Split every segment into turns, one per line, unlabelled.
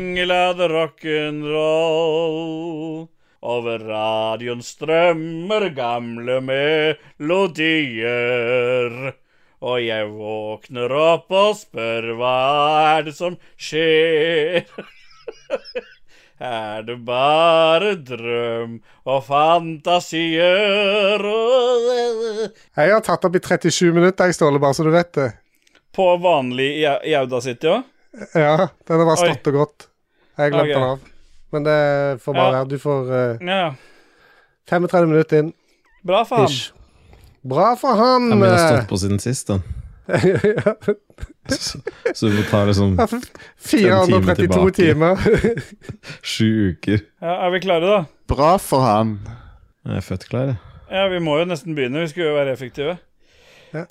Jinglad rock'n'roll. Over radioen strømmer gamle melodier. Og jeg våkner opp og spør hva er det som skjer? er det bare drøm og fantasier?
Jeg har tatt opp i 37 minutter, jeg, Ståle, bare så du vet det.
På vanlig i i Audacity òg?
Ja, den har bare
Oi.
stått og gått. Jeg glemte
Ok.
den av. Men det får bare
Ja.
være. Du får eh,
Ja. ja.
35 minutter inn.
Bra, faen.
Ish. Bra for han!
Han har
eh.
stått på siden sist, da.
Ja,
Så, så du må ta liksom
for 432
tilbake.
timer.
sju uker.
Ja, er vi klare, da?
Bra for han.
Jeg er født klar, jeg.
Ja, vi må jo nesten begynne. Vi skulle jo være effektive.
Ja.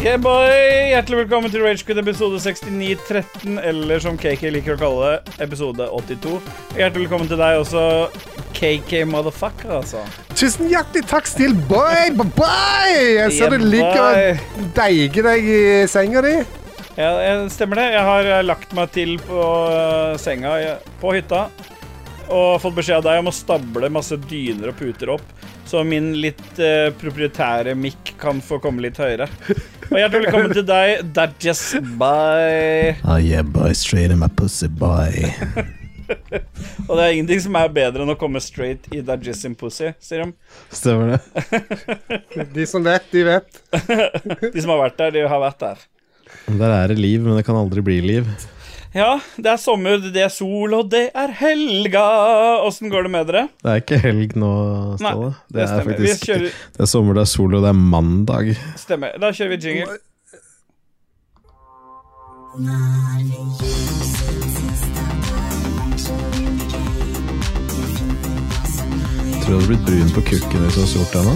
Yeah, boy! Hjertelig velkommen til Ragequid episode 6913, eller som KK liker å kalle det, episode 82. Hjertelig velkommen til deg også, KK motherfucker, altså.
Tusen hjertelig takk, Steel Boy! Bye, bye! Jeg
Yeah,
ser du ligger
boy.
og deiger deg i senga di.
Ja, eh, stemmer det. Jeg har eh, lagt meg til på eh, senga eh, på hytta og fått beskjed av deg om å stable masse dyner og puter opp, så min litt eh, proprietære mikk kan få komme litt høyere. Og hjertelig velkommen til deg, Dadges Bye.
Oh, yeah, boy, straight in my pussy, boy.
Og det er ingenting som er bedre enn å komme straight i Dajis in pussy, sier de.
Stemmer det?
De som vet, de vet.
De som har vært der, de har vært der.
Der er det liv, men det kan aldri bli liv.
Ja, det er sommer, det er sol, og det er helga. Åssen går det med dere?
Det er ikke helg nå, Ståle. Det er
stemmer.
faktisk
Vi kjører,
Det er sommer, det er sol, og det er mandag.
stemmer. Da kjører vi jingle.
Tror du hadde blitt brun på kukken hvis du hadde gjort det nå?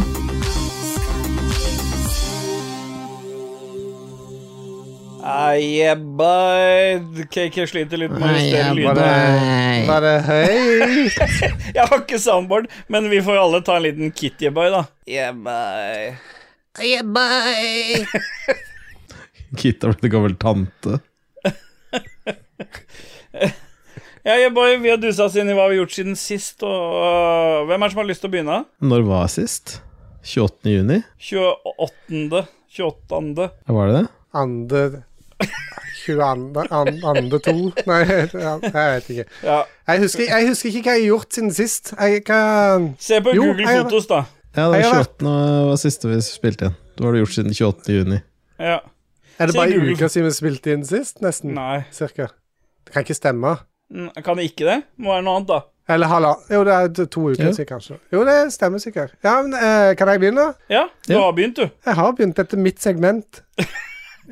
Ajebaj. KK sliter litt med å justere
Var
lyden.
det, var det høyt?
Jeg har ikke soundboard, men vi får jo alle ta en liten kittyboy, da. Ajebaj.
Gitt har blitt en gammel tante.
Ja, Ajebaj, vi har dusa oss inn i hva vi har gjort siden sist, og øh, hvem er det som har lyst til å begynne?
Når var sist? 28. juni?
28. 28.
Ja, Var det det?
Ande 22 an, Ande to? Nei, ja, jeg vet ikke.
Ja.
Jeg husker, jeg husker ikke hva jeg har gjort siden sist. Jeg, hva,
Se på
Jo,
Google
jeg-
Fotos, da.
Ja,
Jeg
det
har
var 28. og var siste vi spilte inn. Det har du gjort siden 28. juni.
Ja.
er det
Sier
bare
Google.
uka siden vi spilte inn sist? Nesten.
Nei.
Cirka. Det kan ikke stemme.
N- Kan det ikke det? Må være noe annet, da.
Eller halva. Jo, det er to- to uker
Ja.
siden, kanskje. Jo, det stemmer sikkert. Ja, men eh, Kan jeg begynne?
Ja, du
Ja.
har begynt, du.
Jeg har begynt etter mitt segment.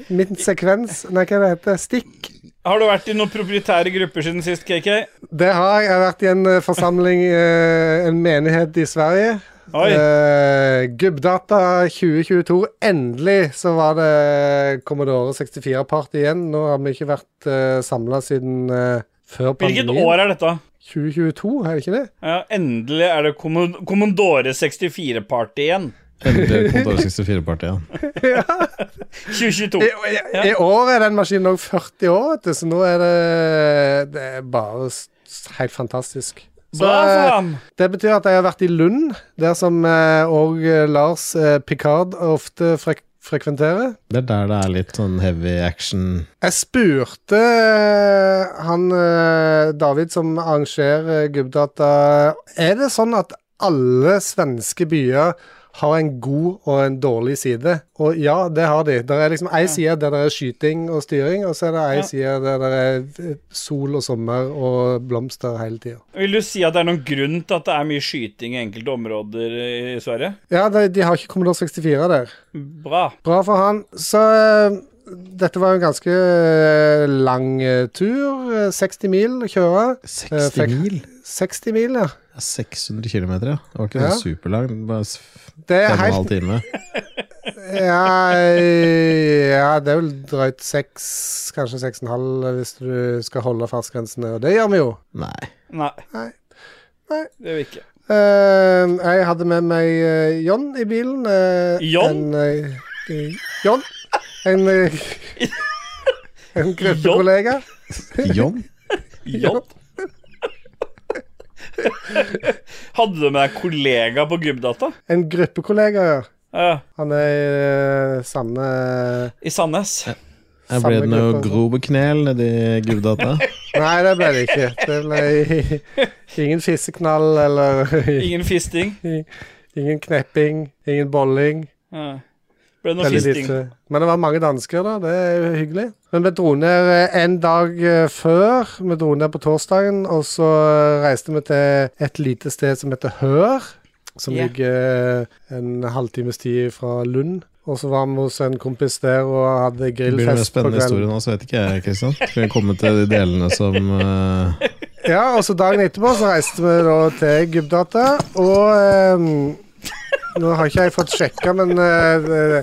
Min sekvens. Nei, hva det heter Stikk.
Har du vært i noen proprietære grupper siden sist, KK?
Det har jeg. Jeg har vært i en eh, forsamling, eh, en menighet i Sverige.
Oi.
Eh, Gubbdata 2022. Endelig så var det Commodore 64-party igjen. Nå har vi ikke vært uh, samla siden eh, før
Hvilket
pandemien.
år er dette?
2022, er det ikke det?
Ja, endelig er det Kommo- Commodore 64-party igjen.
Endelig kom Dårlig 64-partiet.
2022.
I, i, I år er den maskinen òg 40 år, vet du, så nå er det, det er bare s- helt fantastisk. Så,
Bra,
eh,
faen!
Det betyr at jeg har vært i Lund, der som eh, og eh, Lars eh, Picard ofte frek frekventerer.
Det er der det er litt sånn heavy action.
Jeg spurte eh, han eh, David som arrangerer eh, Gubbdata Er det sånn at alle svenske byer har en god og en dårlig side? Og ja, det har de. Det er liksom ei side der det er skyting og styring, og så er det ei
Ja.
side der det er eh, sol og sommer og blomster hele tida.
Vil du si at det er noen grunn til at det er mye skyting i enkelte områder i Sverige?
Ja, de, de har ikke Commodore 64 der.
Bra.
Bra for han. Så eh, dette var jo en ganske eh, lang eh, tur. eh, 60 mil å kjøre.
60
fikk-
mil?
60 mil, ja.
Det er 600 km, ja. Det var ikke
Ja.
sånn superlang. Bare s- fem
Det er
og en halv
helt
time.
ja, ja, det er vel drøyt seks, kanskje seks og en halv hvis du skal holde fartsgrensene, og det gjør vi jo.
Nei.
Nei.
Nei. Nei.
Det vil ikke.
Eh, jeg hadde med meg eh, John i bilen. eh,
John?
En, eh, eh, John. En, eh, en gruppekollega.
John?
Jobb. Hadde du med deg kollega på Gubbdata?
En gruppekollega, ja.
Ja,
Han er i eh, samme
I Sandnes?
Jeg
Samme
ble det noe
gruppe, altså.
grove knel nedi Gubbdata.
Nei, det ble det ikke. Det ble ingen fisseknall eller
Ingen fisting?
ingen knepping, ingen bolling.
Ja. Ble det noe
Veldig
fisting?
lite. Men det var mange dansker, da. Det er jo hyggelig. Men vi dro ned eh, en dag eh, før. Vi dro ned på torsdagen, og så eh, reiste vi til et lite sted som heter Hør. Som
Ja.
ligger eh, en halvtimes tid fra Lund. Og så var vi hos en kompis der og hadde
Det blir en
grillfest på
spennende historie
kvelden.
nå, så vet ikke jeg, Kristian. Skal vi komme til de delene som eh,
Ja, og så dagen etterpå så reiste vi da til Gubbdata, og ehm, Nå har ikke jeg fått sjekka, men eh, det-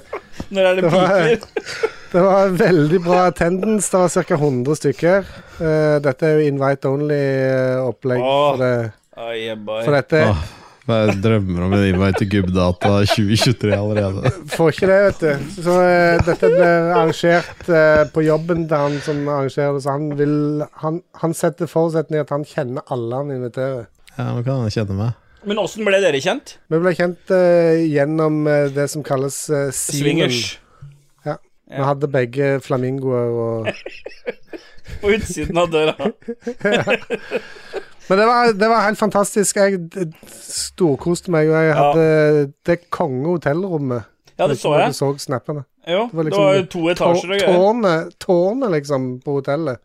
Når er det
Det var-
piker?
Det var en veldig bra attendance. Det var ca. 100 stykker. Eh, dette er jo invite only-opplegg
Åh.
for, det,
Ai, jebbai.
for dette.
Åh, hva jeg drømmer om en invite til Gubbdata 2023 allerede.
Får ikke det, vet du. Så eh, dette blir arrangert eh, på jobben til han som arrangerer det, så han vil Han, han setter forutsetning at han kjenner alle han inviterer.
Ja, Nå kan han kjenne meg.
Men åssen ble dere kjent?
Vi ble kjent eh, gjennom eh, det som kalles uh,
Swingers.
Vi hadde begge flamingoer og
På utsiden av døra.
Men det var, det var helt fantastisk. Jeg d- d- storkoste meg, og jeg
Ja.
hadde eh, det konge hotellrommet.
Ja, det så jeg.
Du så snappene.
Jo,
var
det
liksom
var jo to etasjer og greier.
Tårnet, tårnet, liksom, på hotellet.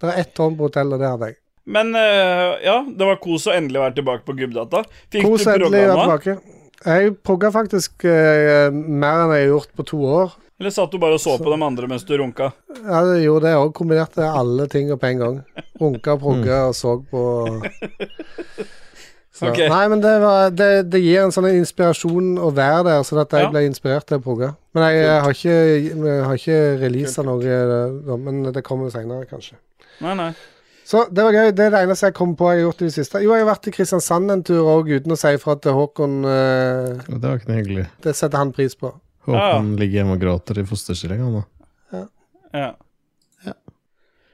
Det var ett tårn på hotellet, og det hadde jeg.
Men eh, ja, det var kos å endelig være tilbake på Gubbdata. Fikk
Kos
du
endelig å være
programma,
tilbake. Jeg progga faktisk eh, mer enn jeg har gjort på to år.
eller satt du bare og så på de andre mens du runka?
Jeg gjorde det òg, kombinerte alle tinga på en gang. Runka, progga og så på så.
Mm. Ok.
Nei, men det, var, det, det gir en sånn inspirasjon å være der, så at jeg
Ja.
ble inspirert til å progge. Men jeg eh, har ikke, vi har ikke releasa noe, eh, men det kommer seinere, kanskje.
Nei, nei.
Så det var gøy. Det er det eneste jeg kom på jeg har gjort i det siste. Jo, jeg har vært i Kristiansand en tur òg, uten å si ifra til Håkon. eh,
Det var ikke noe hyggelig.
Det setter han pris på.
Håkon ligger hjemme og gråter i fosterstilling, han da.
Ja.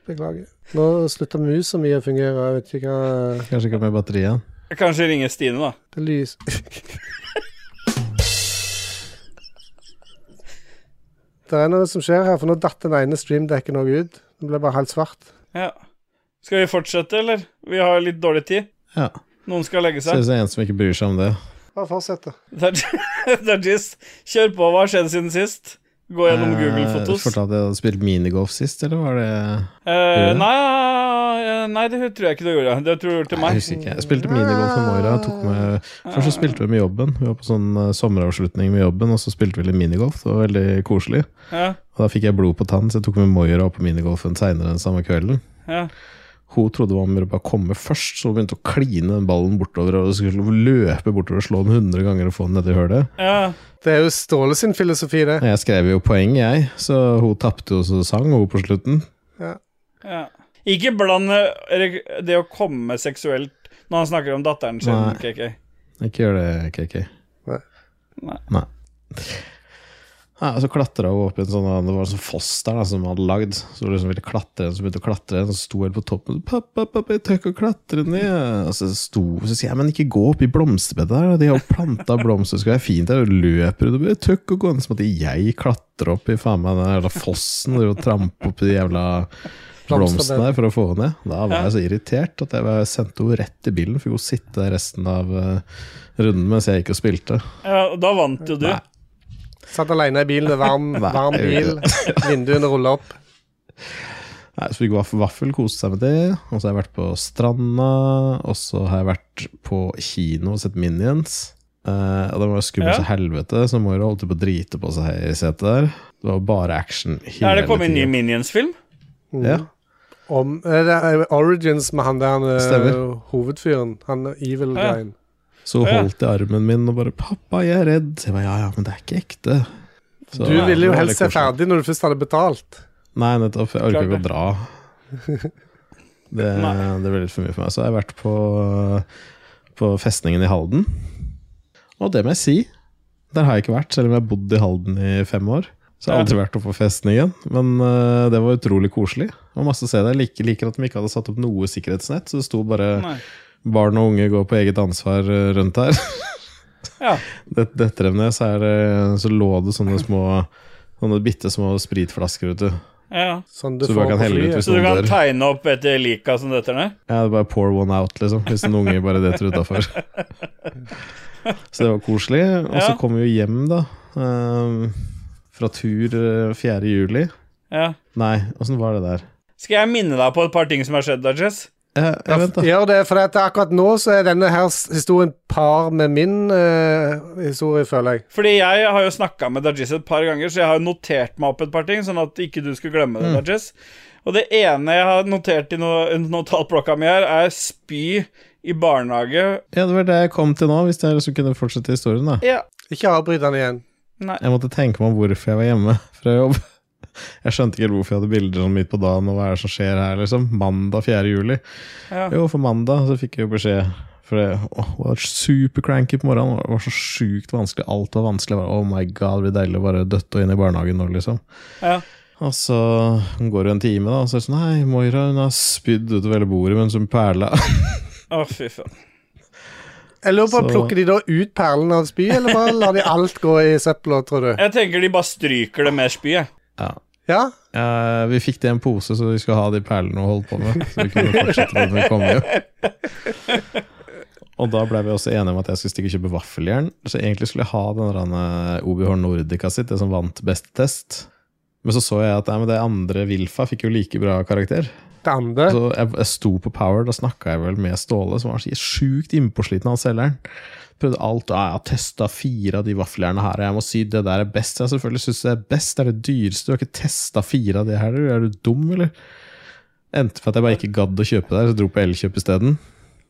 Beklager. Nå slutter musa mi å fungere. Jeg vet ikke hva
Kanskje ikke har mer batteri igjen.
Jeg Kanskje ringe Stine, da.
Det lys Det er noe som skjer her, for nå datt den ene streamdekken òg ut. Den ble bare helt svart.
Ja. Skal vi fortsette, eller? Vi har litt dårlig tid.
Ja.
Noen skal legge
Ser
seg.
ut som en som ikke bryr seg om det.
Bare fortsett, da.
Dargis, kjør på. Hva har skjedd siden sist? Gå gjennom Google-fotos.
Eh, Fortalte at jeg hadde spilt minigolf sist, eller var det
Eh,
du det?
nei, eh, nei, det tror jeg ikke du gjorde. Det tror du gjorde til
Nei,
meg.
Jeg husker ikke. Jeg spilte minigolf med Moira. Tok med, først så spilte vi med jobben. Vi var på sånn eh, sommeravslutning med jobben, og så spilte vi litt minigolf. Det var veldig koselig.
Ja,
Og da fikk jeg blod på tann, så jeg tok med Moira opp på minigolfen seinere den samme kvelden.
ja.
Hun trodde hun ville bare komme først, så hun begynte å kline den ballen bortover og skulle løpe bortover og slå den 100 ganger og få den nedi hølet.
ja.
Det er jo Ståle sin filosofi, det.
Jeg skrev jo poeng, jeg, så hun tapte jo så sang hun på slutten.
Ja. Ikke bland eh, det å komme seksuelt når han snakker om datteren sin.
Nei.
KK.
Ikke gjør det, KK.
Nei.
Nei.
Nei. Nei, og så klatra hun opp i en sånn Det var en sånn foss der da, som hun hadde lagd. Så hun liksom ville klatre den, så begynte hun å klatre den, og så sto hun helt på toppen. Så, pappa, pappa, jeg tør ikke å klatre ned. Og så sto hun så sier jeg, men ikke gå opp i blomsterbedet der. da, De har jo planta blomster, det skal være fint der. Og løper hun og bare, jeg tør ikke å gå ned. Så måtte jeg klatre opp i faen meg den jævla fossen og trampe opp de jævla blomsten der for å få henne ned. Da var jeg så irritert at jeg bare sendte henne rett i bilen. Fikk hun sitte der resten av eh, runden mens jeg gikk og spilte.
Ja, og da vant jo du.
Nei.
Satt alene i bilen, det er varm,
Nei,
varm
jeg
bil,
gjorde
vinduene ruller opp.
Nei, så fikk vaff- vaffel, koste seg med det. Og så har jeg vært på stranda, og så har jeg vært på kino og sett Minions. Eh, og den var jo skummel
Ja.
som helvete, så Moira holdt på å drite på seg i setet der. Det var bare action hele
Er det kommet en ny Minions-film?
Mm.
Ja.
om eh, Det er Origins med han der eh,
Stemmer.
hovedfyren. Han eh, evil
Ah, Ja.
guyen.
Så
Å, ja.
holdt jeg armen min og bare 'Pappa, jeg er redd'. Så jeg bare, ja, ja, men det er ikke ekte. Så,
Du
ja,
ville
det
jo
var
helst se
litt koselig.
ferdig når du først hadde betalt.
Nei, nettopp. Jeg orker
Klart
ikke å dra. Det,
Nei.
det ble litt for mye for meg. Så har jeg vært på, på festningen i Halden. Og det må jeg si. Der har jeg ikke vært, selv om jeg har bodd i Halden i fem år. Så jeg har aldri vært oppe på festningen, men eh, det var utrolig koselig. Det var masse å se der. Jeg liker, liker at de ikke hadde satt opp noe sikkerhetsnett, så det sto bare
Nei.
barn og unge går på eget ansvar eh, rundt her.
Ja.
Det- Detter dem ned, så, er det, så lå det sånne små Sånne bitte små spritflasker ute.
ja.
Sånn du
Så sånn du bare
får
kan
på
helle ut
flyet.
hvis-
Så du kan
Sondre.
tegne opp etter lika som dette ned?
Ja, det er bare pour one out, liksom, hvis en unge bare detter utafor. Så det var koselig. Og så
Ja.
kom vi jo hjem, da. eh, fra tur eh, 4. juli.
Ja.
Nei, åssen var det der?
Skal jeg minne deg på et par ting som har skjedd, da, Jess?
Ja, ja, vent, da.
Gjør det, for at akkurat nå så er denne her s- historien par med min eh, historie, føler jeg.
Fordi jeg har jo snakka med Dajis et par ganger, så jeg har jo notert meg opp et par ting, sånn at ikke du skulle glemme
Mm.
det, Dajis. Og det ene jeg har notert i no notatblokka mi her, er spy i barnehage.
Ja, det var det jeg kom til nå, hvis jeg liksom kunne fortsette historien, da.
Ja.
Ikke avbryt den igjen.
Nei.
Jeg måtte tenke meg om hvorfor jeg var hjemme fra jobb. Jeg skjønte ikke helt hvorfor jeg hadde bilder sånn midt på dagen, og hva er det som skjer her, liksom. Mandag 4. juli.
Ja.
Jo, for mandag så fikk jeg jo beskjed. For det åh, det var supercranky på morgenen. Det var så sjukt vanskelig. Alt var vanskelig. Jeg Bare, oh my god, det blir deilig å bare døtte inn i barnehagen nå, liksom.
Ja.
Og så går det en time, da, og så er det sånn Nei, Moira hun har spydd utover hele bordet mens hun perla.
Å, fy faen.
Jeg lurer på,
Så-
Plukker de da ut perlene av spy, eller bare lar de alt gå i søpla, tror du?
Jeg tenker de bare stryker det med spyet.
ja.
Ja?
Eh, vi fikk det i en pose, så vi skulle ha de perlene og holde på med. Så vi kunne fortsette med det når vi kom hjem. Og da ble vi også enige om at jeg skulle stikke og kjøpe vaffeljern. Så egentlig skulle jeg ha den der, eh, OBH Nordica sitt, det som vant beste test. Men så så jeg at nei, men det andre Wilfa fikk jo like bra karakter.
Det andre?
Så jeg, jeg sto på Power, da snakka jeg vel med Ståle, som var så sjukt innpåsliten av selgeren. Prøvde alt, og jeg har testa fire av de vaffeljernene her, og jeg må si det der er best. Jeg selvfølgelig syns det er best, det er det dyreste, du har ikke testa fire av de her, du. er du dum, eller? Endte for at jeg bare ikke gadd å kjøpe der, så dro på Elkjøp isteden.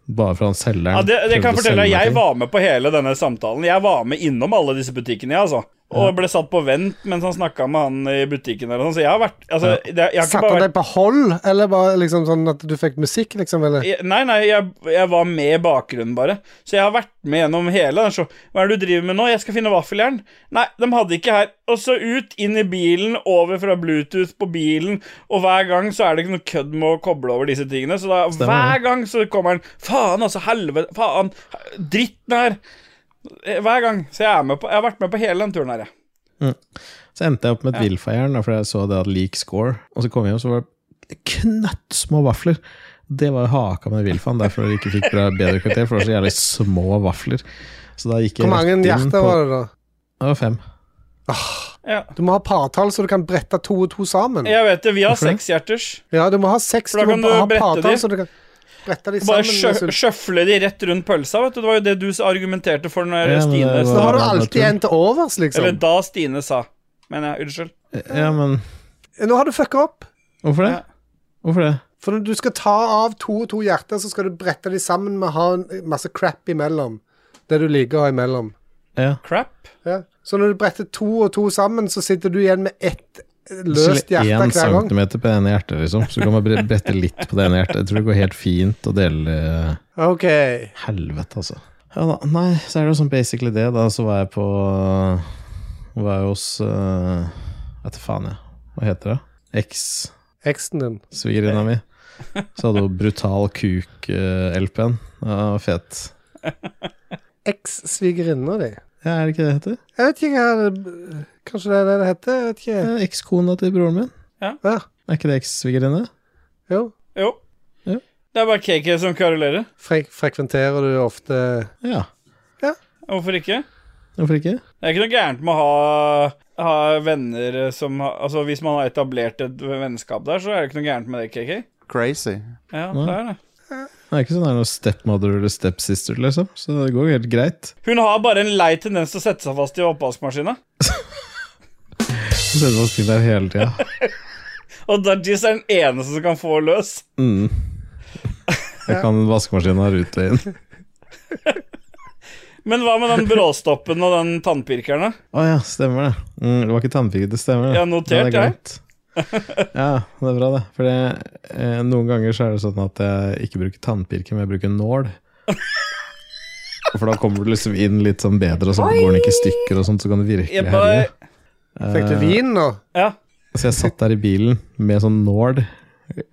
Bare for han selgeren.
Ja, det, det kan jeg
prøvde å
fortelle
selge
deg,
meg
Jeg
ting.
var med på hele denne samtalen. Jeg var med innom alle disse butikkene, jeg, altså. Og ble satt på vent mens han snakka med han i butikken. Eller sånn, så jeg har vært altså, det, jeg har ikke
Satte
bare
han
vært
deg på hold, eller bare liksom sånn at du fikk musikk, liksom? Eller?
Jeg- Nei, nei, jeg, jeg var med i bakgrunnen, bare. Så jeg har vært med gjennom hele. den show- Hva er det du driver med nå? Jeg skal finne vaffeljern. Nei, de hadde ikke her. Og så ut, inn i bilen, over fra Bluetooth på bilen, og hver gang så er det ikke noe kødd med å koble over disse tingene. Så da, hver gang så kommer han Faen, altså, helvete, faen, dritten her. Eh, Hver gang. Så jeg, er med på, jeg har vært med på hele den turen her, jeg.
Så endte jeg opp med et Wilfa-jern, da, for jeg så det hadde lik score. Og så kom jeg hjem, så var det knøttsmå vafler. Det var jo haka med Wilfaen, derfor jeg ikke fikk bra bedre karakter. For det var så jævlig små vafler. Så da gikk jeg
Hvor mange
rett inn
hjerter
på-
var det, da?
Det var fem.
Ja.
Du må ha partall, så du kan brette to og to sammen.
Jeg vet det, vi har
Hvorfor det?
sekshjerters.
Ja, du må ha seks.
For da
Du må
kan du
ha
brette
partall,
de.
så du kan brette de
Bare
sammen. med
sjø-
sult.
sjøfle de rett rundt pølsa, vet du. Det var jo det du argumenterte for når
Ja, men
Stine
det
sa
Da har du
Ja,
alltid
naturlig.
en til overs,
Eller
liksom.
da Stine sa. Men ja, unnskyld.
Ja, men
Nå har du fucka opp.
hvorfor det?
Ja.
Hvorfor det?
For når du skal ta av to og to hjerter, så skal du brette de sammen med å ha en masse crap imellom. Det du liker å ha imellom.
Ja.
Crap.
Ja. Så når du bretter to og to sammen, så sitter du igjen med ett løst
Skille
hjerte
én
hver gang.
centimeter på det ene hjertet, liksom. Så du kan man bre- brette litt på det ene hjertet. Jeg tror det går helt fint å dele
OK.
Helvete, altså. Ja da, nei, så er det jo sånn basically det. Da så var jeg på Var jeg hos eh, Vet du faen, jeg. Hva heter det?
Eksen din.
Eks-svigerinna mi. Så hadde hun Brutal Kuk-LP-en. Ja, fet.
Eks-svigerinna di.
Ja, er det ikke det det heter?
Jeg vet ikke hva det Kanskje det er det det heter? Jeg vet ikke.
Ja, Ekskona til broren min.
Ja,
Er ikke det eks-svigerinne?
jo.
Jo.
Ja.
Det er bare KK som karolerer.
Frek frekventerer du ofte
Ja.
Hvorfor ikke?
Hvorfor ikke?
Det er ikke noe gærent med å ha, ha venner som har- Altså, hvis man har etablert et vennskap der, så er det ikke noe gærent med det, KK.
Crazy.
Ja,
Nei.
det er det.
Det er ikke sånn det er noe stepmother eller stepsister, liksom. Så det går jo helt greit.
Hun har bare en lei tendens til å sette seg fast i oppvaskmaskina.
Så setter man oss til der hele tida.
Og Dudgies er den eneste som kan få løs.
Mm. Jeg kan vaskemaskinen har utveien.
Men hva med den bråstoppen og den tannpirkeren, da?
Å ja, stemmer det. Mm, det var ikke tannpirket, det stemmer. det.
Jeg har notert,
det er glemt. Ja, det er bra, det. For det, eh, noen ganger så er det sånn at jeg ikke bruker tannpirker, men jeg bruker nål. For da kommer du liksom inn litt sånn bedre, og så går den ikke i stykker, og sånt, så kan du virkelig
Jeg bare-
herje.
Fikk
Eh.
du vin nå?
Ja.
Så jeg satt der i bilen med sånn nål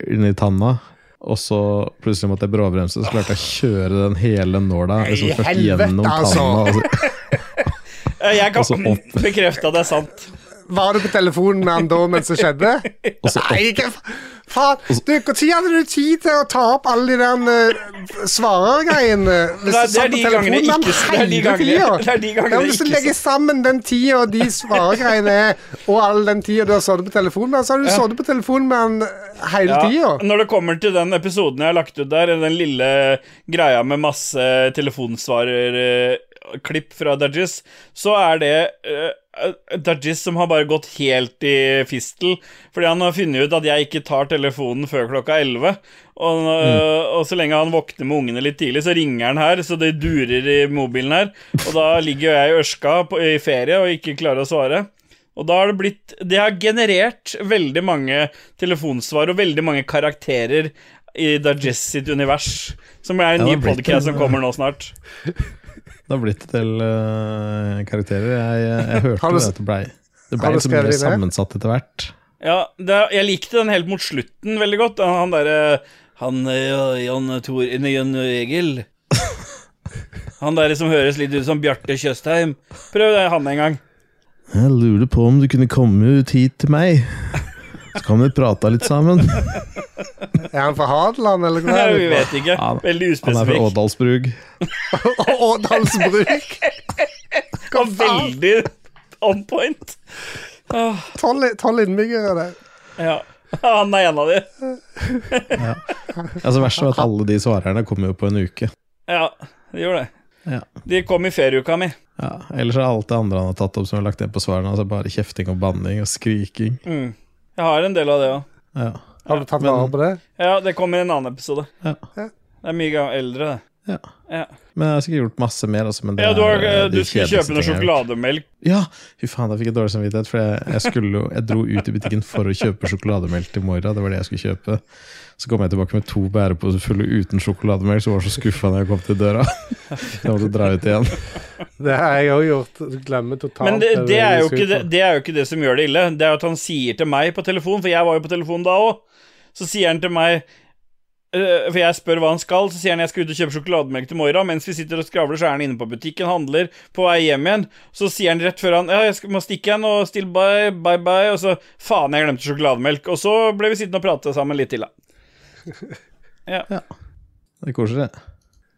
inni tanna, og så plutselig måtte jeg bråbremse, så klarte jeg å kjøre den hele nåla liksom,
Nei,
først
helvete,
gjennom
altså.
tanna. og så-
Eh, Jeg
Og så
kan
Altså, opp.
bekrefte at det er sant.
Var du på telefonen med han da mens det skjedde?
Og så opp.
Nei, ikke fa- faen! Du, Når hadde du tid til å ta opp alle de der uh, svarergreiene? eh, Hvis
Nei,
du
det er
satt på
de gangene
telefonen
ikke- det
han
er de
hele
gangene-
tida.
det er de gangene
Ja, men Hvis
ikke
du legger sammen den tida de svarergreiene er, og all den tida du har sittet på telefonen med han, så har du sittet på telefonen med han eh, hele
Ja.
tida.
Når det kommer til den episoden jeg har lagt ut der, den lille greia med masse telefonsvarerklipp fra Dudgies, så er det uh, Dudgies som har bare gått helt i fistel. Fordi han har funnet ut at jeg ikke tar telefonen før klokka 11. Og, øh, og så lenge han våkner med ungene litt tidlig, så ringer han her, så det durer i mobilen her. Og da ligger jo jeg i ørska på, i ferie og ikke klarer å svare. Og da har det blitt Det har generert veldig mange telefonsvar og veldig mange karakterer i Dajess sitt univers. Som er en
Ja, det
ny
har blitt
podcast
en-
som kommer nå snart.
Det har blitt en del eh, karakterer. Jeg, jeg, jeg hørte
Har du
det
s-
at det blei Det
har
blei
du
liksom mer
skrevet det?
sammensatt etter hvert.
Ja, det, jeg likte den helt mot slutten veldig godt. Han, han derre Han eh, Jan Tor nei, Jan Egil. Han derre som høres litt ut som Bjarte Tjøstheim. Prøv det han en gang.
Jeg lurer på om du kunne komme ut hit til meg. Så kan vi prate litt sammen.
Er han fra Hadeland, eller hva?
Nei, vi vet ikke.
Han-
Veldig
Han er fra
uspesifikk.
Ådalsbrug.
Ådalsbruk.
Og veldig on point.
Tolv tolv innbyggere der.
Ja. Han er en av de.
Altså, verst er at alle de svarerne kommer jo på en uke.
Ja, de gjorde det.
Ja.
De kom i ferieuka mi.
Ja, ellers er alt det andre han har tatt opp som er lagt ned på svarene, altså bare kjefting og banning og skriking.
Mm. Jeg har en del av det òg.
Ja.
Har du tatt
Men-
vare på det?
Ja, det kommer i en annen episode.
Ja.
Det er mye gam- eldre, det.
Ja.
Ja,
Men jeg har sikkert gjort masse mer. Altså, men det
ja du, har,
er, eh, de
du skulle
kjedeligste
kjøpe noe
tingene jeg har gjort.
sjokolademelk.
Ja! Fy faen, da fikk jeg dårlig samvittighet. For jeg, jeg, skulle, jo- jeg dro ut i butikken for å kjøpe sjokolademelk til Moira. Det var det jeg skulle kjøpe. Så kom jeg tilbake med to bæreposer fulle uten sjokolademelk, så var jeg så skuffa når jeg kom til døra. Jeg måtte dra ut igjen.
Det har jeg òg gjort. Du glemmer totalt
Men det, det, er jo
du
ikke det,
skulle
det er jo ikke det som gjør det ille. Det er jo at han sier til meg på telefon, for jeg var jo på telefon da òg, så sier han til meg eh, for jeg spør hva han skal, så sier han jeg skal ut og kjøpe sjokolademelk til Moira. Mens vi sitter og skravler, så er han inne på butikken, handler, på vei hjem igjen. Så sier han rett før han Ja, jeg skal, må stikke igjen, og still bye, bye, bye. Og så Faen, jeg glemte sjokolademelk. Og så ble vi sittende og prate sammen litt til, da.
Det er koselig. det.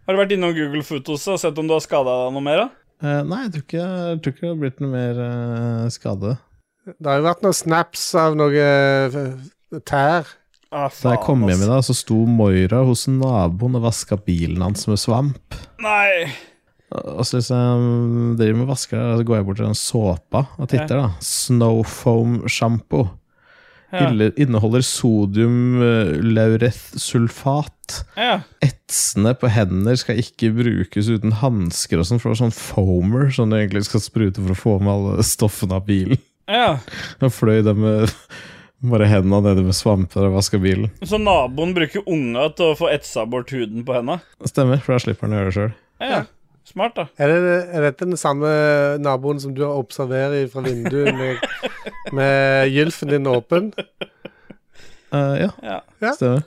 Har du vært innom Google Fotos og sett om du har skada deg noe mer, da?
Eh, nei, jeg tror ikke, jeg tror ikke det har blitt noe mer eh, skade.
ta. Det har jo vært noen snaps av noe eh, tær.
Ah,
Da jeg kom
faen,
hjem i dag, så sto Moira hos naboen og vaska bilen hans med svamp.
ass. Nei.
Og så liksom driver med vasker, og så går jeg bort til den såpa og titter, da. Snow foam shampoo.
Ja.
Ille- Inneholder sodium eh, laurethsulfat.
Ja.
Etsende på hender skal ikke brukes uten hansker og sånn, for det er sånn foamer som du egentlig skal sprute for å få med alle stoffene av bilen.
ja.
Og fløy det med bare hendene nede med svamper og vaska bilen.
Så naboen bruker unga til å få etsa bort huden på henda?
Stemmer, for da slipper han å gjøre det sjøl.
Ja. Smart, da.
Er, det, er dette den samme naboen som du observerer fra vinduet med, med gylfen din åpen?
Eh, ja,
Ja.
Ja.
stemmer.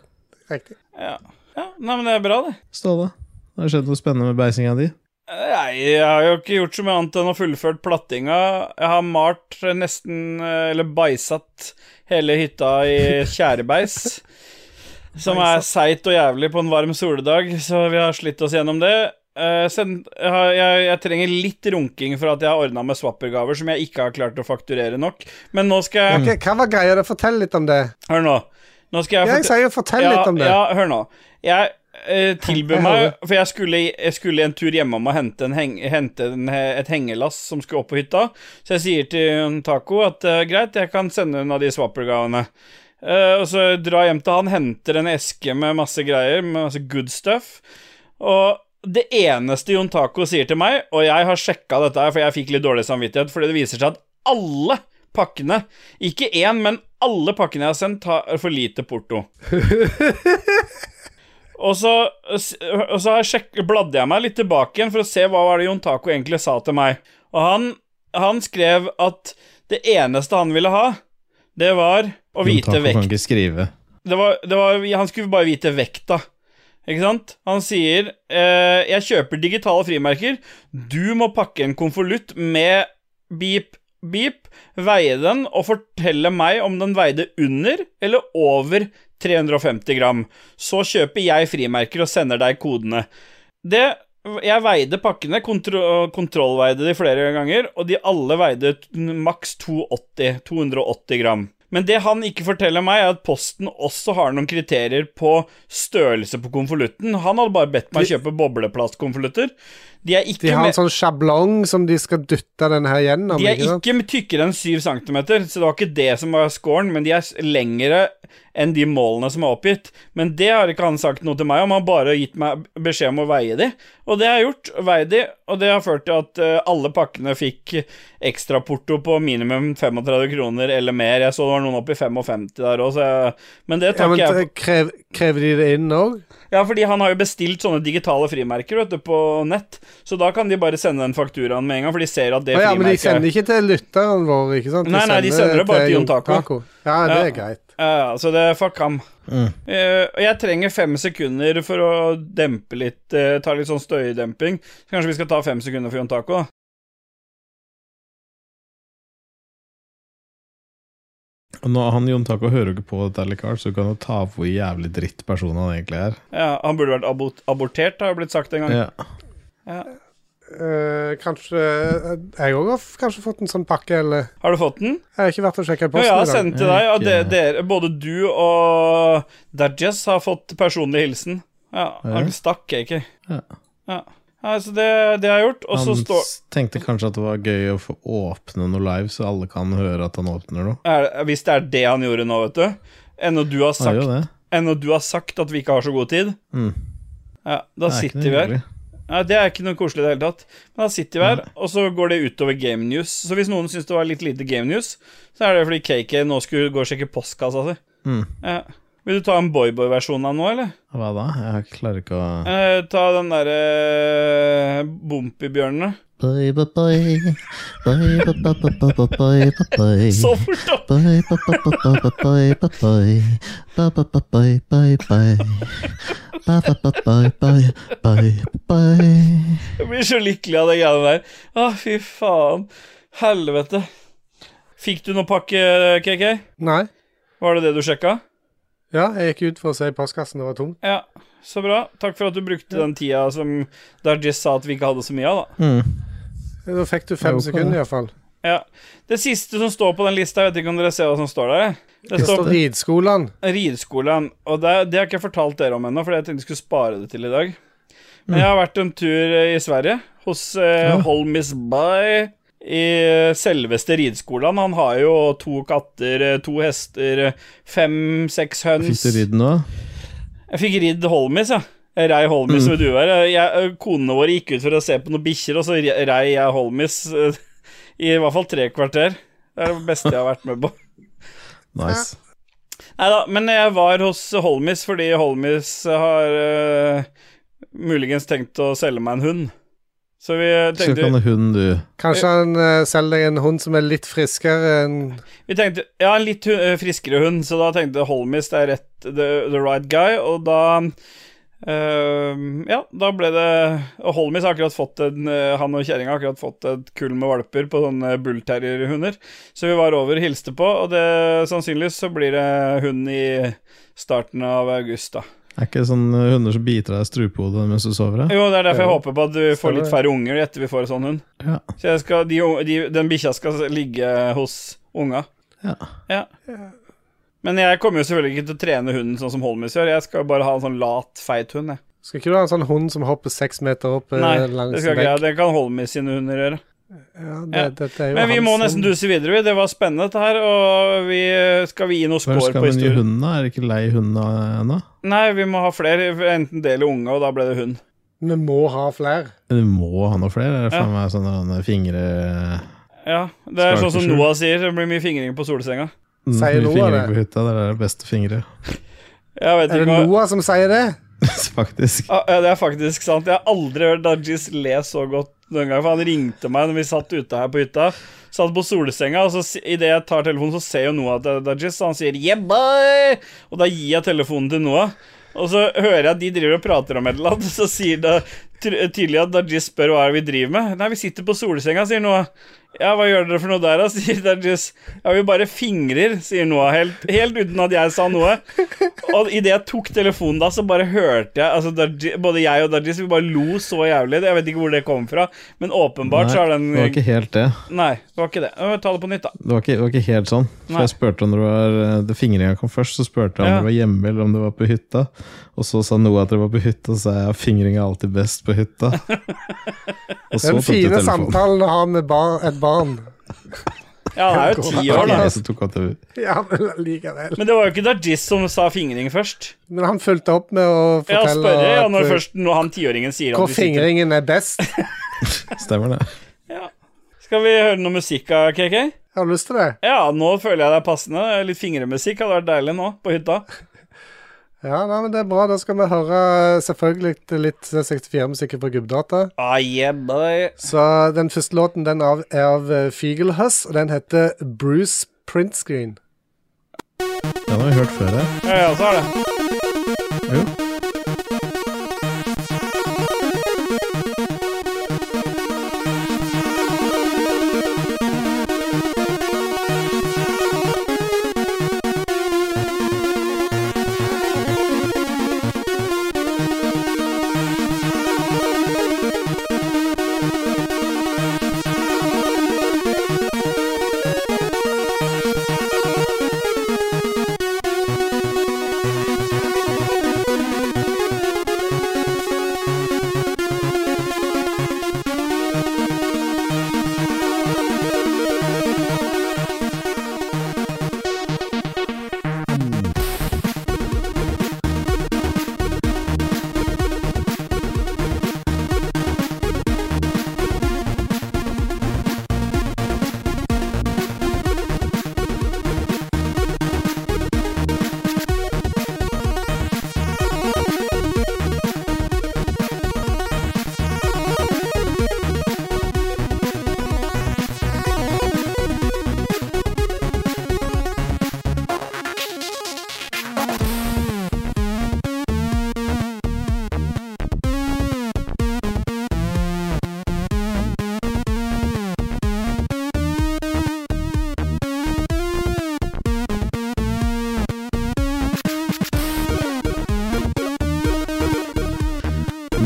Riktig.
ja. ja. Nei, men det er bra, det.
Ståle, har det skjedd noe spennende med beisinga di?
Nei, jeg har jo ikke gjort så mye annet enn å fullført plattinga. Jeg har malt nesten eh, Eller beisatt hele hytta i tjærebeis. som er seigt og jævlig på en varm soldag, så vi har slitt oss gjennom det. Eh, send, jeg, har- jeg, jeg trenger litt runking for at jeg har ordna med swappergaver som jeg ikke har klart å fakturere nok. Men nå skal jeg
Ok, hva var greia der? Fortell litt om det.
Hør nå. Nå skal jeg
Jeg
fortel-
sier jo
Mm.
fortell
ja,
litt om det.
Ja, hør nå. Jeg eh, tilbød
Jeg
meg
hører.
For jeg skulle, jeg skulle en tur hjemom og hente, en heng, hente en, he- et hengelass som skulle um, opp på hytta. Så jeg sier til hun Taco at eh, greit, jeg kan sende unna de swappergavene. Eh, og så drar jeg hjem til han, henter en eske med masse greier, med masse good stuff. Og det eneste Jon Taco sier til meg, og jeg har sjekka dette her, for jeg fikk litt dårlig samvittighet, fordi det viser seg at alle pakkene, ikke én, men alle pakkene jeg har sendt, har for lite porto. Og så, og så har jeg sjekk, bladde jeg meg litt tilbake igjen for å se hva var det Jon Taco egentlig sa til meg. Og han, han skrev at det eneste han ville ha, det var å vite
Taco
vekk
kan ikke skrive.
det var, det var, han skulle bare vite vekta. Ikke sant? Han sier eh, 'Jeg kjøper digitale frimerker. Du må pakke en konvolutt med beep, beep, veie den og fortelle meg om den veide under eller over 350 gram. Så kjøper jeg frimerker og sender deg kodene. Det Jeg veide pakkene, kontro, kontrollveide de flere ganger, og de alle veide t- maks 280, 280 gram. Men det han ikke forteller meg, er at Posten også har noen kriterier på størrelse på konvolutten. Han hadde bare bedt meg kjøpe bobleplastkonvolutter. De er ikke
De har
med-
en sånn sjablong som de skal dytte den her gjennom.
de er
ikke sant?
ikke tykkere enn 7 cm, så det var ikke det som var scoren, men de er s- lengre enn de målene som er oppgitt. Men det har ikke han sagt noe til meg om, han har bare gitt meg beskjed om å veie de. Og det har jeg gjort, veid de, og det har ført til at eh, alle pakkene fikk ekstraporto på minimum 35 kroner eller mer. Jeg så det var noen oppi 55 der òg, så jeg Men det
Ja,
takker
men
jeg på.
eh, krev, Krever de det inn òg?
Ja, fordi han har jo bestilt sånne digitale frimerker vet du, på nett, så da kan de bare sende den fakturaen med en gang, for de ser at det
Å ja, men de
frimerket er-
sender ikke til lytteren vår, ikke sant?
Nei, nei, de sender det bare til Jon Taco.
Ja, det
Ja.
er greit.
Ja, ja, så det fuck ham.
Mm.
Eh, og jeg trenger fem sekunder for å dempe litt, eh, ta litt sånn støydemping. Så kanskje vi skal ta fem sekunder for Jon Taco, da.
Og Nå, han Jon Taco hører jo ikke på dette likevel, så du kan jo ta av hvor jævlig dritt personen han egentlig er.
Ja, han burde vært abort abortert, har det blitt sagt en gang.
Ja.
Eh, kanskje Jeg òg har f- kanskje fått en sånn pakke, eller
Har du fått den?
Jeg har ikke vært og sjekka
Ja,
posten
jeg har
i dag.
sendt til deg, og det,
Ikke-
dere, både du og Dajez har fått personlig hilsen. Ja, han
Ja.
stakk ikke.
Ja.
Ja. ja, så det, det har jeg gjort. Og så
Han
står
s- tenkte kanskje at det var gøy å få åpne noe live, så alle kan høre at han åpner noe.
er, Hvis det er det han gjorde nå, vet du, enn når du har
Han gjør jo
sagt,
det.
enn når du har sagt at vi ikke har så god tid,
Mm.
ja, da
Det er ikke
sitter
noe
vi her.
hyggelig.
Nei, Det er ikke noe koselig i det hele tatt. Men da sitter vi her, og så går det utover game news. Så hvis noen syns det var litt lite game news, så er det fordi KK nå skulle gå og sjekke postkassa si.
Mm.
Ja. Vil du ta en boyboy-versjon av den nå, eller?
Hva da? Jeg klarer ikke å
Eh, ta den derre eh, Bompibjørnene.
Bye bye bye. Bye bye bye bye bye bye bye bye bye.
Så fort, da!
Bye bye bye bye bye bye bye bye. Bye bye bye bye bye bye. Bye bye bye bye bye bye bye.
Jeg blir så lykkelig av det greiene der. Å, fy faen. Helvete. Fikk du noe pakke, KK?
Nei.
Var det det du sjekka?
Ja, jeg gikk ut for å se i postkassen, det var tom.
Ja, så bra. Takk for at du brukte den tida som Dargis sa at vi ikke hadde så mye av, da.
mm.
Da fikk du fem
Jeg håper
sekunder,
det.
iallfall.
Ja. Det siste som står på den lista, jeg vet ikke om dere ser hva som står der? Det
Det står
står
Ridskolen.
Rideskolen, og det, det har ikke jeg fortalt dere om ennå, fordi jeg tenkte jeg skulle spare det til i dag. Men jeg har vært en tur eh, i Sverige, hos eh,
Ja.
Holmis Bay, i eh, selveste rideskolen. Han har jo to katter, eh, to hester, eh, fem-seks
Fikk
høns.
du ridd nå?
Jeg fikk ridd Holmis, ja. Jeg rei Holmis
Mm.
med duer. Jeg, eh, konene våre gikk ut for å se på noen bikkjer, og så re- rei jeg Holmis eh, i hvert fall tre kvarter. Det er det beste jeg har vært med på.
Nice.
Nei da, men jeg var hos Holmis fordi Holmis har eh, muligens tenkt å selge meg en hund. Så vi eh,
Skal ikke
tenkte,
ha hund, du.
Kanskje han eh, selger deg en hund som er litt friskere enn
vi tenkte Ja, en litt hu- eh, friskere hund, så da tenkte Holmis det er rett the, the right guy, og da eh, ja, da ble det Og Holmis har akkurat fått en eh, Han og kjerringa har akkurat fått et kull med valper på sånne bullterrierhunder. Så vi var over og hilste på, og det sannsynligvis så blir det hund i starten av august, da.
Er ikke det sånne hunder som biter deg i strupehodet mens du sover? da?
Jo, det er derfor jeg
Ja.
håper på at vi får
Stemmer
litt
det.
færre unger etter vi får en sånn hund.
Ja.
Så jeg skal, de, unge- de, den bikkja skal ligge hos unga.
Ja.
Men jeg kommer jo selvfølgelig ikke til å trene hunden sånn som Holmis gjør. Jeg skal bare ha en sånn lat, feit hund. Jeg.
Skal ikke du ha en sånn hund som hopper seks meter opp eh,
Nei,
langs
det skal
en
ikke jeg.
bekk?
Det kan Holmis sine hunder gjøre.
Ja, det,
Ja.
Dette er jo
Men vi
han
må
som-
nesten duse videre. vi. Det var spennende, dette her. Og vi, skal vi gi noe
Hva
score
skal
på
man gi
historien?
hunden? da? Er det ikke lei hunden ennå?
Nei, vi må ha flere. Enten det eller unge, og da ble det hund.
Vi må ha flere.
Du må ha noe flere? Er det
Ja.
faen meg sånne sånne fingre
Ja, Det er
Skal
sånn som
ikke skjule.
Noah sier, det blir mye fingring på solsenga.
Sier noe av
Fingre
det.
på hytta, det er det beste fingre.
Jeg vet
Er det
ikke hva
Noah som sier det?
Faktisk.
Ah, ja, Det er faktisk sant. Jeg har aldri hørt Dajis le så godt noen gang. For han ringte meg når vi satt ute her på hytta. Satt på solsenga, og så idet jeg tar telefonen, så ser jo Noah at det er Dajis, og han sier yeah, boy! Og da gir jeg telefonen til Noah. Og så hører jeg at de driver og prater om et eller annet, så sier det ty- tydelig at Dajis spør hva er det vi driver med. Nei, vi sitter på solsenga, sier Noah. Ja, hva gjør dere for noe der, da? sier Dajis. Ja, vi bare fingrer, sier Noah, helt, helt uten at jeg sa noe. Og idet jeg tok telefonen da, så bare hørte jeg altså, Darji- Både jeg og Dajis, vi bare lo så jævlig. Jeg vet ikke hvor det kom fra, men åpenbart så er den
det var ikke helt det.
Nei, det var ikke det. Nå må vi Ta det på nytt, da.
Det var ikke, det var ikke helt sånn. For
Nei.
jeg spurte om det var eh, det Fingringa kom først, så spurte jeg om
Ja.
det var hjemme eller om det var på hytta. Og så sa Noah at det var på hytta, og så sa jeg at fingringa er alltid best på hytta. Og så
Den
tok du
fine
telefonen.
samtalen å ha med bar et barn.
Ja, han er jo ti
Det
år,
var ikke
da.
jeg som tok opp det.
Ja, men likevel.
Men det var jo ikke Dajis som sa fingring først.
Men han fulgte opp med å
Ja,
fortelle
spørre ja,
at,
når
eh,
først når han tiåringen sier
hvor
at vi sitter
fingringen er best.
Stemmer det.
ja. Skal vi høre noe musikk av KK?
Jeg har lyst til det.
Ja, nå føler jeg det er passende. Litt fingremusikk hadde vært deilig nå, på hytta.
Ja, nei, men det er bra. Da skal vi høre eh, selvfølgelig litt 64-musikk fra Gubbdata.
Ah, yeah, boy.
Så den første låten den av, er av eh, Fiegelhuss, og den heter Bruce Printscreen.
Den har vi hørt før, ja.
Ja, ja, så er det.
Jo.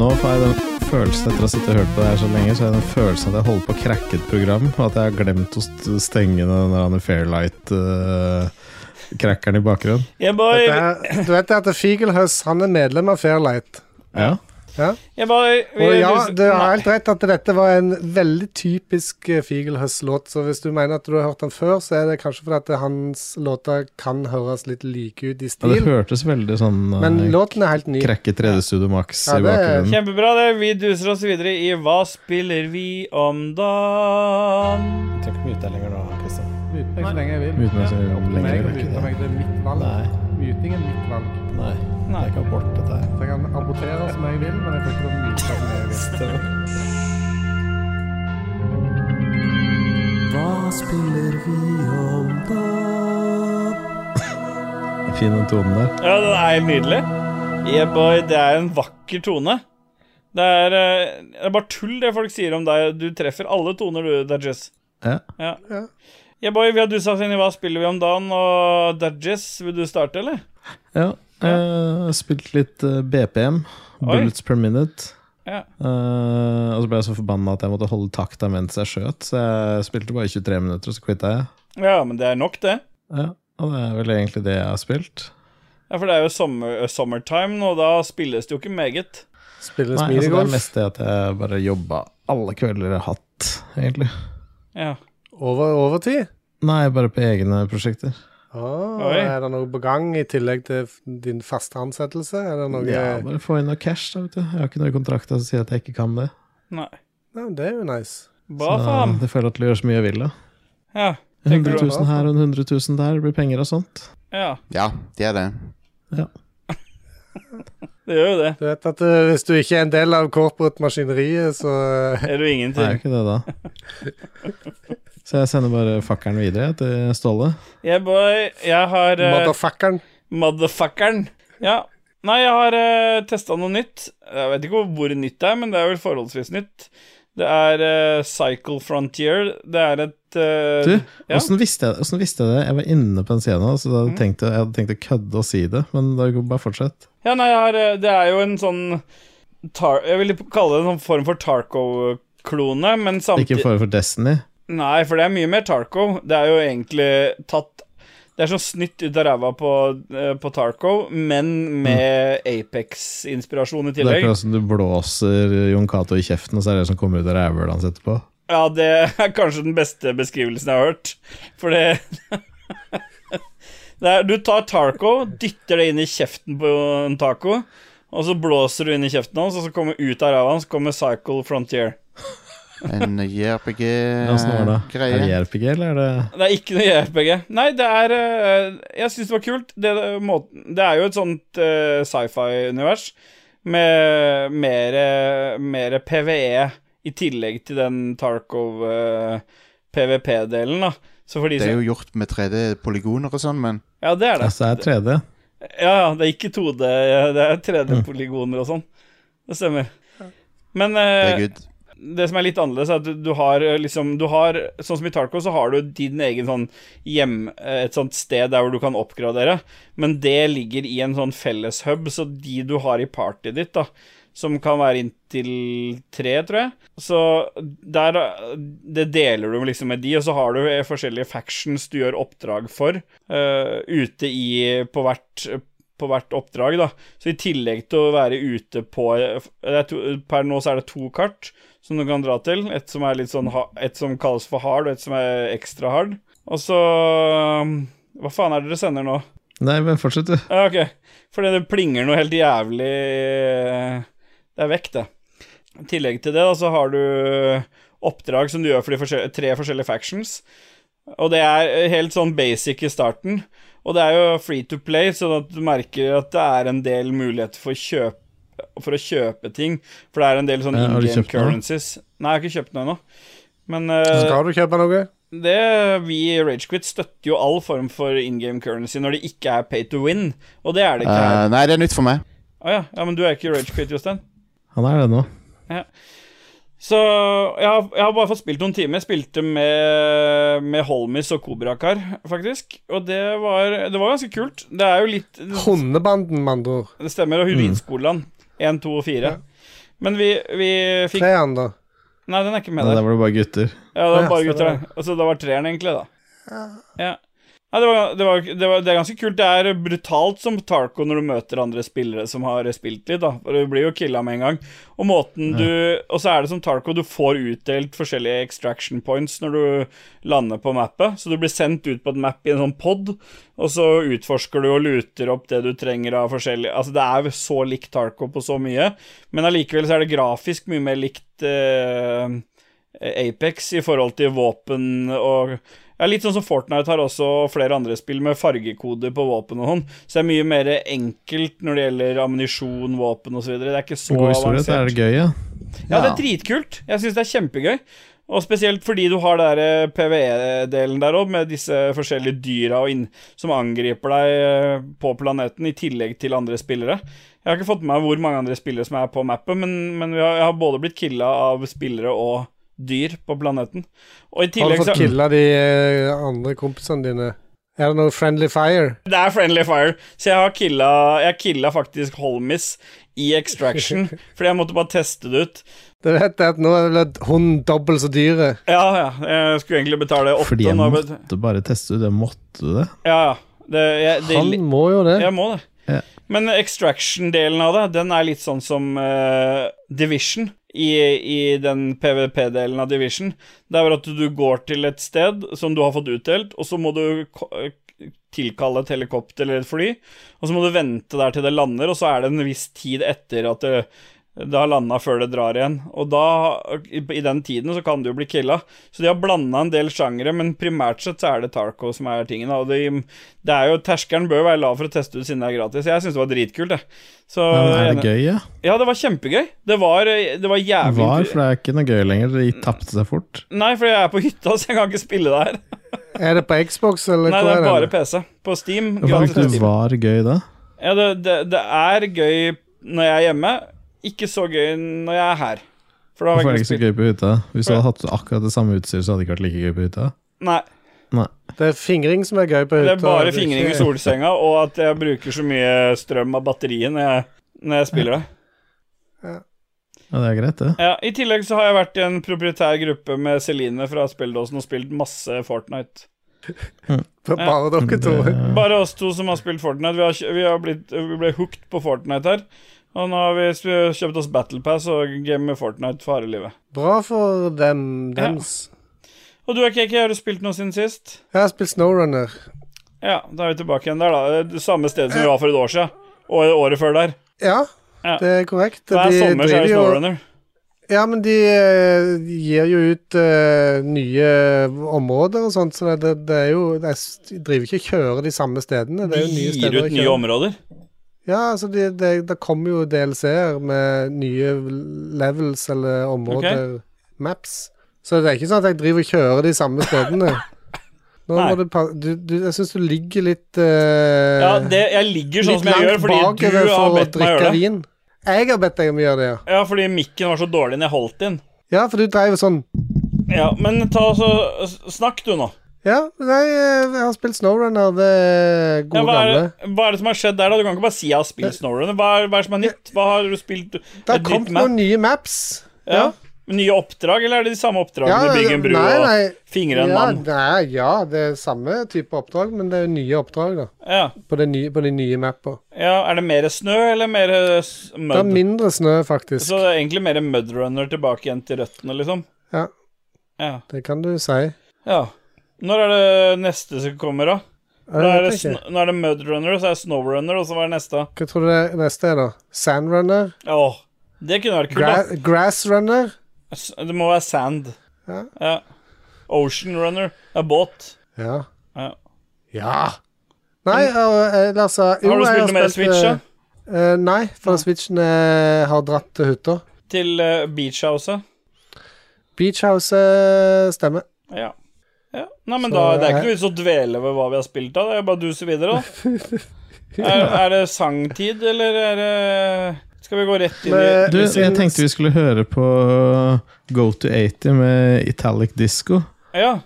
Nå får jeg den følelsen etter å ha sittet og hørt på det her så lenge, så har jeg den følelsen at jeg holder på å krakke et program, og at jeg har glemt å st- stenge den der Fairlight-krakkeren i bakgrunnen.
Yeah, boy.
Dette er- Du vet at Fiegelhuss han er medlem av Fairlight.
Ja.
Ja.
Yeah, boy. Vi-
Og ja,
du-
du har
Nei.
helt rett at dette var en veldig typisk eh, Fiegelhuss-låt. Så hvis du mener at du har hørt den før, så er det kanskje fordi at hans låter kan høres litt like ut i
ja, det
stil.
hørtes veldig sånn eh,
Men låten er helt ny.
Krakke 3D-studio Max
Ja,
i
det er-
bakgrunnen.
Kjempebra, det. Vi duser oss videre i Hva spiller vi om dagen?
Jeg trenger ikke mute deg lenger nå, Kristian.
Mute meg så lenge jeg vil.
Mute meg så lenge
Meg
jeg
og
vil.
mute meg, det er mitt valg.
Nei.
Muting er mitt valg.
Nei, det er ikke abort, dette her.
Så jeg kan abortere som jeg vil, men jeg får ikke lov å myte som jeg vil.
Fin den tonen der.
Ja, den er helt nydelig. Yeah, boy. Det er en vakker tone. Det er, eh, det er bare tull, det folk sier om deg. Du treffer alle toner, du, Dajis.
Ja.
Ja.
Ja.
Yeah, boy. Vi har dusa oss inn i Hva spiller vi om dagen, og Dajis, vil du starte, eller?
Ja. eh, spilt litt eh, BPM.
Oi.
Bullets per minute.
Ja.
Eh, og så ble jeg så forbanna at jeg måtte holde takta mens jeg skjøt, så jeg spilte bare 23 minutter, og så quitta jeg.
Ja, men det er nok, det.
Ja, og det er vel egentlig det jeg har spilt.
Ja, for det er jo sommer, summertime nå, da spilles det jo ikke meget.
Spille
Nei, altså, det er
smileygolf.
mest det at jeg bare jobba alle kvelder jeg har hatt litt, egentlig.
Ja.
Over, overtid?
Nei, bare på egne prosjekter.
Ah,
Oi.
er det noe på gang i tillegg til f- din faste ansettelse? Er det noe
Ja, bare få inn noe cash, da, vet du. Jeg har ikke noe i kontrakten som sier at jeg ikke kan det.
Nei.
Ja, Det er jo nice.
Hva
Så
faen?
Det får jeg lov til å gjøre så mye jeg vil, da.
Ja. Tenker
100
du
000 her og 100 000 der, det blir penger og sånt.
Ja,
Ja, det er det.
det gjør jo det.
Du vet at eh, hvis du ikke er en del av korporatmaskineriet, så eh,
Er det jo
Det er jo
ingenting.
ikke det, da. Så jeg sender bare fakkelen videre til Ståle.
Yeah, boy. Jeg har eh,
Motherfuckeren.
Motherfuckeren. Ja. Nei, jeg har uh, testa noe nytt. Jeg vet ikke hvor nytt det er, men det er vel forholdsvis nytt. Det er eh, Cycle Frontier. Det er et eh,
Du,
ja. Mm.
åssen visste, jeg- hvordan visste jeg det? Jeg var inne på en scene, så da hadde jeg tenkt, jeg hadde tenkt å kødde og si det, men da går bare fortsett.
Ja, nei, jeg har, eh, det er jo en sånn tar Jeg vil kalle det en sånn form for Tarco-klone, men
Ikke i
samtidig
forhold for Destiny.
Nei, for det er mye mer Tarco. Det er jo egentlig tatt Det er sånn snytt ut av ræva på, eh, på Tarco, men med Apex-inspirasjon i
Mm. Det er
tillegg.
akkurat som du blåser Jon Cato i kjeften, og så er det det som kommer ut av rævhølet hans etterpå.
Ja, det er kanskje den beste beskrivelsen jeg har hørt. For det, det er, Du tar Tarco, dytter det inn i kjeften på en taco, og så blåser du inn i kjeften hans, og så kommer ut av ræva hans kommer Cycle Frontier.
En
Eh,
Åssen var det? Er det
JRPG-greie.
JRPG, eller er det
Det er ikke noe JRPG. Nei, det er eh, Jeg syns det var kult. Det, måten- det er jo et sånt eh, sci-fi-univers med mer, mer PVE E i tillegg til den eh, Tarkov-PVP-delen, da. Så for de
Det er
som
jo gjort med 3D-polygoner og sånn, men
Ja, det er det.
Altså, det er 3D.
Ja, ja, det er ikke 2D, det er
Mm.
3D-polygoner og sånn. Det stemmer. Men
det
eh,
er good.
det som er litt annerledes, er at du, du har eh, liksom du har, Sånn som i Tarco, så har du din egen sånn hjem eh, Et sånt sted der hvor du kan oppgradere, men det ligger i en sånn felles hub, så de du har i partyet ditt, da, som kan være inntil tre, tror jeg Så der eh, Det deler du liksom med de, og så har du eh, forskjellige factions du gjør oppdrag for eh, ute i På hvert eh, på hvert oppdrag, da. Så i tillegg til å være ute på eh, det er to, Per nå så er det to kart som du kan dra til. Et som, er litt sånn, ha- et som kalles for hard, og et som er ekstra hard. Og så um, Hva faen er det dere sender nå?
Nei, men fortsett, du.
Ja, ok. Fordi det plinger noe helt jævlig eh, Det er vekk, det. I tillegg til det da, så har du oppdrag som du gjør for de forskjell tre forskjellige factions. Og det er helt sånn basic i starten. Og det er jo free to play, sånn at du merker at det er en del muligheter for, kjøp for å kjøpe ting. For det er en del sånn
Ja,
in
har du
game
kjøpt noe?
currencies. Nei, jeg har ikke kjøpt den ennå. Men eh,
Skal du kjøpe noe?
det, vi i Ragequit støtter jo all form for in game currency når det ikke er pay to win, og det er det ikke her.
Eh, nei, det er nytt for meg.
Å ja. ja, men du er ikke i Ragequit, Jostein.
Han er det nå.
Så jeg har, jeg har bare fått spilt noen timer. Jeg spilte med, med Holmis og Kobrakar, faktisk. Og det var, det var ganske kult. Det er jo litt
Hundebanden, med andre ord.
Det stemmer, og Hurinskolan. Én, to og fire. Men vi, vi fikk
Treeren, da.
Nei, den er ikke med
Nei,
der.
der var det bare gutter.
Ja, det
Ja,
var bare
så
gutter
det
der. Altså, det var treeren, egentlig, da. Ja. Nei, det, var, det, var, det, var, det er ganske kult. Det er brutalt som Tarco når du møter andre spillere som har spilt litt, da. For du blir jo killa med en gang. Og måten du Og så er det som Tarco, du får utdelt forskjellige extraction points når du lander på mappet. Så du blir sendt ut på et map i en sånn pod, og så utforsker du og luter opp det du trenger av forskjellige Altså, det er så likt Tarco på så mye, men allikevel så er det grafisk mye mer likt eh, Apex i forhold til våpen og ja, Litt sånn som Fortnite har også flere andre spill med fargekoder på våpen og sånn, så det er mye mer enkelt når det gjelder ammunisjon, våpen osv. Det er ikke så
Så god historie, så er det gøy, ja.
ja, det er dritkult. Jeg syns det er kjempegøy. Og spesielt fordi du har den der, eh, PVE-delen der òg, med disse forskjellige dyra og inn, som angriper deg eh, på planeten, i tillegg til andre spillere. Jeg har ikke fått med meg hvor mange andre spillere som er på mappet, men, men vi har, jeg har både blitt killa av spillere og dyr på planeten. Og i
Har du
tillegg så
fått killa de eh, andre kompisene dine? Er det noe friendly fire?
Det er friendly fire. Så jeg har killa Jeg killa faktisk Holmis i Extraction, fordi jeg måtte bare teste det ut.
Du vet det at nå er vel hunden dobbelt så dyre.
Ja, ja. Jeg skulle egentlig betale åtte.
Fordi jeg
nå har jeg bet-
måtte bare teste ut. Jeg måtte det.
Ja, ja. Det, jeg, det,
Han må jo det.
jeg må det.
Ja.
Men extraction-delen av det, den er litt sånn som eh, Division. i, i den PVP-delen av Division, det er at du går til et sted som du har fått utdelt, og så må du ko- tilkalle et helikopter eller et fly, og så må du vente der til det lander, og så er det en viss tid etter at det, det har landa før det drar igjen. Og da, i den tiden, så kan du jo bli killa. Så de har blanda en del sjangere, men primært sett så er det Tarco som er tingen. da, Og de, det er jo, terskelen bør være lav for å teste ut siden det er gratis. Jeg syns det var dritkult, jeg. Så,
Ja, men er det gøy, ja?
ja, det var kjempegøy. Det var, det var jævlig
Var, for det er ikke noe gøy lenger. De tapte seg fort.
Nei, for jeg er på hytta, så jeg kan ikke spille det her.
Er det på Xbox, eller
Nei,
hvor
det
er
er
det?
bare PC. På Steam.
Hvorfor
Gratis på
ikke det
Steam.
var gøy da?
Ja, det, det, det er gøy når jeg er hjemme. Ikke så gøy når jeg er her. For da har
Hvorfor er
jeg ikke
det ikke så
spilt.
gøy på hytta? Hvis du hadde hatt akkurat det samme utstyret, så hadde det ikke vært like gøy på hytta.
Nei,
Nei.
Det er fingring som er gøy på
det
hytta.
er bare
det er
fingring i
ikke-
solsenga, og at jeg bruker så mye strøm av batteriet når jeg, når jeg spiller det.
Ja, det er greit, det.
Ja, I tillegg så har jeg vært i en proprietær gruppe med Celine fra Spilledåsen og spilt masse Fortnite.
Det er Bare dere to.
Bare oss to som har spilt Fortnite. Vi, har, kjø- vi, har blitt, vi ble hooked på Fortnite her. Og nå har vi s- kjøpt oss Battle Pass og gamer Fortnite for harde livet.
Bra for dem, dems.
Og du, KK, har du spilt noe siden sist?
Jeg har spilt Snowrunner.
Ja, da er vi tilbake igjen der, da. Det samme stedet som vi var for et år siden. Og året før der.
Ja,
Ja.
det er korrekt.
Hver
De
sommer så er
driver
det
jo-
Snowrunner.
Ja, men de eh, gir jo ut eh, nye områder og sånt, så det, det er jo De s- de driver ikke og kjører de samme stedene.
De
Det er jo nye
gir
steder
ut
å
nye
kjøre.
områder.
Ja, altså det de, det kommer jo DLC-er med nye levels eller områder, maps. Så det er ikke sånn at jeg driver og kjører de samme stedene. Nå
Nei.
må du, pa- du, du, jeg syns du ligger litt eh,
Ja, det, jeg ligger sånn
litt
som jeg gjør,
langt
fordi
bakover
du har
for å
bedt meg
drikke
gjøre det.
vin. Jeg har bedt deg om å gjøre det, ja.
Ja, fordi mikken var så dårlig når jeg holdt den.
Ja, for du dreiv sånn
Ja, men ta så s- Snakk, du, nå.
Ja, nei, eh, jeg har spilt Snowrunner, det er
Ja,
gode
hva, er,
gamle.
hva er det som har skjedd der, da? Du kan ikke bare si jeg har spilt Snowrunner. Hva er, hva er det som er nytt? Hva har du spilt?
Det har
et nytt
kommet
map?
noen nye maps.
Ja. Nye oppdrag, eller er det de samme oppdragene? Bygg en bru
nei, nei.
og fingre en
ja,
mann.
Nei, ja, det er samme type oppdrag, men det er jo nye oppdrag, da.
Ja.
På, det nye, på de nye mappa.
ja, Er det mer snø eller mer eh, s-
Det er
mud?
mindre snø, faktisk.
Så det er egentlig mer mudrunner tilbake igjen til røttene, liksom?
Ja,
Ja.
det kan du si. Eh,
ja. Når er det neste som kommer, da?
Ja,
Nå
det
er det,
vet jeg
sn
ikke.
nå er det mudrunner, så er det snowrunner, og så var det neste.
Hva tror du det neste er, da? Sandrunner?
Åh, det kunne vært
Gra
kult, da.
grassrunner?
S- Det må være sand.
Ja.
ja. Ocean runner. Det er båt.
Ja.
Ja.
Ja! Nei, og, eh, ellers så- jo,
Har du
jeg
spilt noe mer Switch, da?
eh, eh, nei, for Switchen eh, har dratt til hytta.
Til eh, beachhouset?
Beach House eh, stemmer.
Ja. ja. Nei, men
Så eh,
da, det er ikke
jeg-
noe vits å dvele ved hva vi har spilt av, det er bare å duse videre, da. Er, er det sangtid, eller er det Skal vi gå rett inn i
Men-
Du, jeg tenkte vi skulle høre på uh, Go to 80 med Italic Disco.
Ja,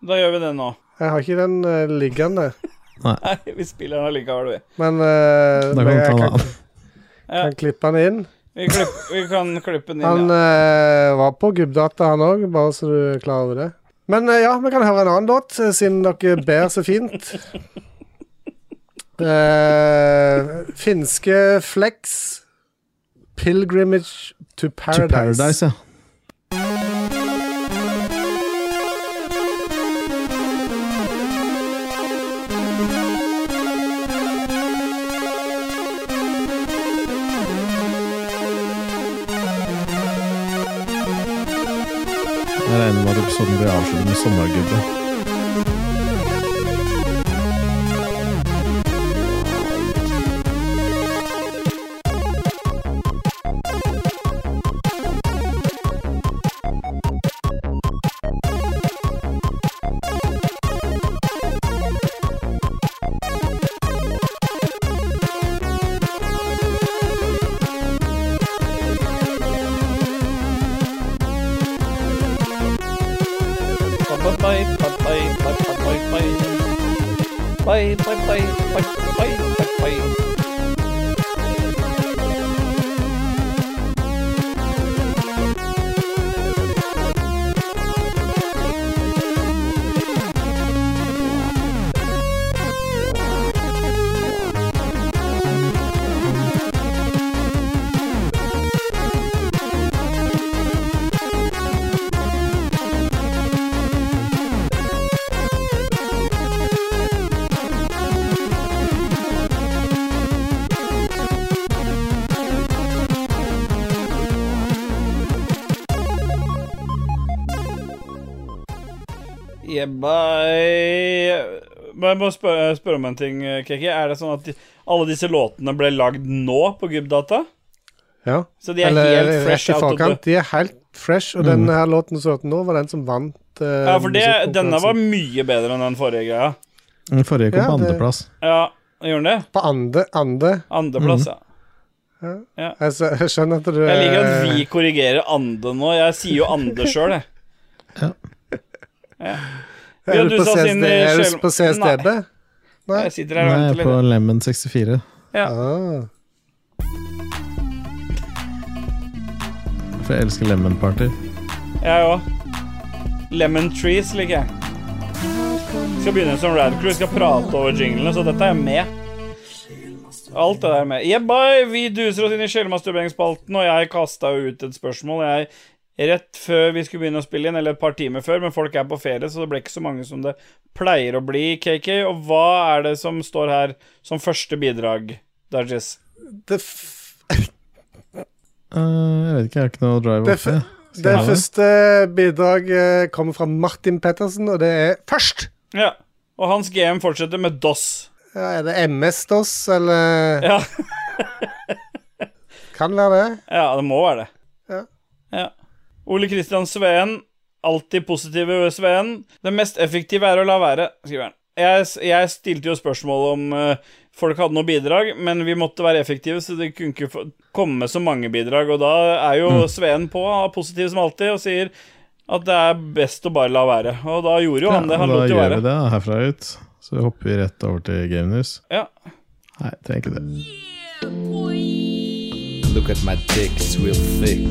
da gjør vi det nå.
Jeg har ikke den eh, liggende,
Nei, vi spiller den allikevel, vi.
men eh,
Da kan
men
vi ta
jeg
den
kan,
an.
Ja,
kan klippe den inn.
vi, klipp, vi kan klippe den
Han
inn, ja.
eh, var på gubbdata, han òg, bare så du er klar over det. Men eh, ja, vi kan høre en annen låt, eh, siden dere ber så fint. Eh, finske Flex, 'Pilgrimage to
To
Paradise'.
Paradise, ja. Jeg regner med at episoden blir avsluttet med sommergubbe.
Bye.
Bye. Men jeg må spørre, spørre om en ting, Kiki. Er det sånn at de, alle disse låtene ble lagd nå på Gubdata?
Ja.
Så de er helt fresh
rett i
out of the
forkant. De er helt fresh, og
Mm.
denne her låten som hørte nå, var den som vant uh,
Ja, for det, denne var
musikkkonkurransen.
mye bedre enn den forrige greia.
Den forrige kom
Ja,
på
det-
andreplass.
Ja, gjorde den det?
På andre, andre. Mm.
Andeplass, ja.
Jeg skjø- jeg skjønner at du
Jeg liker
Eh.
at vi korrigerer ande nå. Jeg sier jo ande sjøl, jeg.
Ja.
Ja. Ja,
eh, Er du
du
på,
sa
CS
sin, eh,
er du
Skjelm-
på CSDB? Nei.
Jeg sitter her og
Nei,
venter
på
litt.
Lemon 64.
Ja.
Ah.
For jeg elsker Lemon Party.
Jeg òg. Lemon Trees liker jeg. Skal begynne som Radcrew. Skal prate over jinglene, så dette er med. Alt det der er med. Jebbai, vi duser oss inn i sjelmasturberingsspalten, og jeg kasta ut et spørsmål. Jeg Rett før vi skulle begynne å spille inn, eller et par timer før, men folk er på ferie, så det ble ikke så mange som det pleier å bli, KK. Og hva er det som står her som første bidrag, Dajis?
Det, f
Eh, jeg vet ikke, jeg har ikke noe drive
Det
opp det. Skal
det
jeg ha
første bidraget kommer fra Martin Pettersen, og det er først!
Ja. Og hans GM fortsetter med DOS.
Ja, er det MS-DOS, eller
Ja.
kan være det?
Ja, det må være det.
Ja.
Ja. Ole Kristian Sveen, alltid positive Sveen. Det mest effektive er å la være, skriver han. Jeg, jeg stilte jo spørsmål om eh, folk hadde noe bidrag, men vi måtte være effektive, så det kunne ikke få- komme så mange bidrag. Og da er
Mm.
jo Sveen på, han er positiv som alltid, og sier at det er best å bare la være. Og da gjorde jo han det. Han
da
lot jo
gjør
være.
vi det da, herfra ut. Så hopper vi rett over til Game News.
Ja.
Nei, trenger ikke det.
Look at my dick, it's real thick.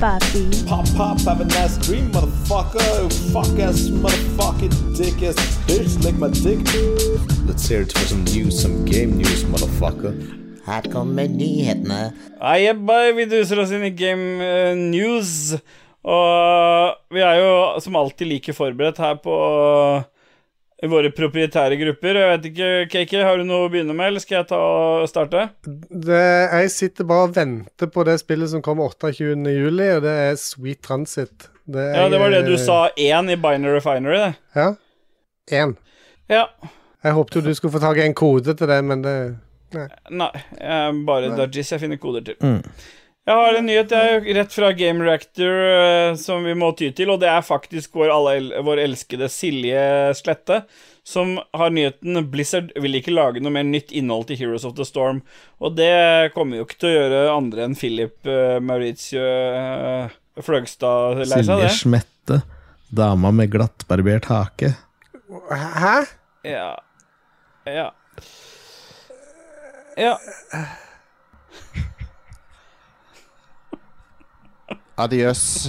Papi.
Pop, pop, have a nice dream, motherfucker. Fuck ass, motherfucking dick ass bitch, lick my dick. Let's hear it for some news, some game news, motherfucker.
Her kommer nyhetene.
Nei, jebbai, vi duser oss inn i Game eh, News. Og vi er jo som alltid like forberedt her på eh, våre proprietære grupper. Jeg vet ikke, KK, har du noe å begynne med, eller skal jeg ta og starte?
det jeg sitter bare og venter på det spillet som kommer 28. juli, og det er Sweet Transit. er-
Ja, det var det du sa én i Binary Refinery, det.
Ja. Én.
Ja.
Jeg håpet jo du skulle få tak i en kode til det, men det
Nei, jeg er bare dodges jeg finner koder til.
Mm.
Jeg har en nyhet jeg, rett fra Game Reactor eh, som vi må ty til, og det er faktisk vår, alle, el- vår elskede Silje Slette som har nyheten Blizzard vil ikke lage noe mer nytt innhold til Heroes of the Storm, og det kommer jo ikke til å gjøre andre enn Philip eh, Mauricio eh, Fløgstad lei seg,
Silje
det.
Smette. Dama med glattbarbert hake.
Hæ?
Ja. Ja. Ja.
Adjøs.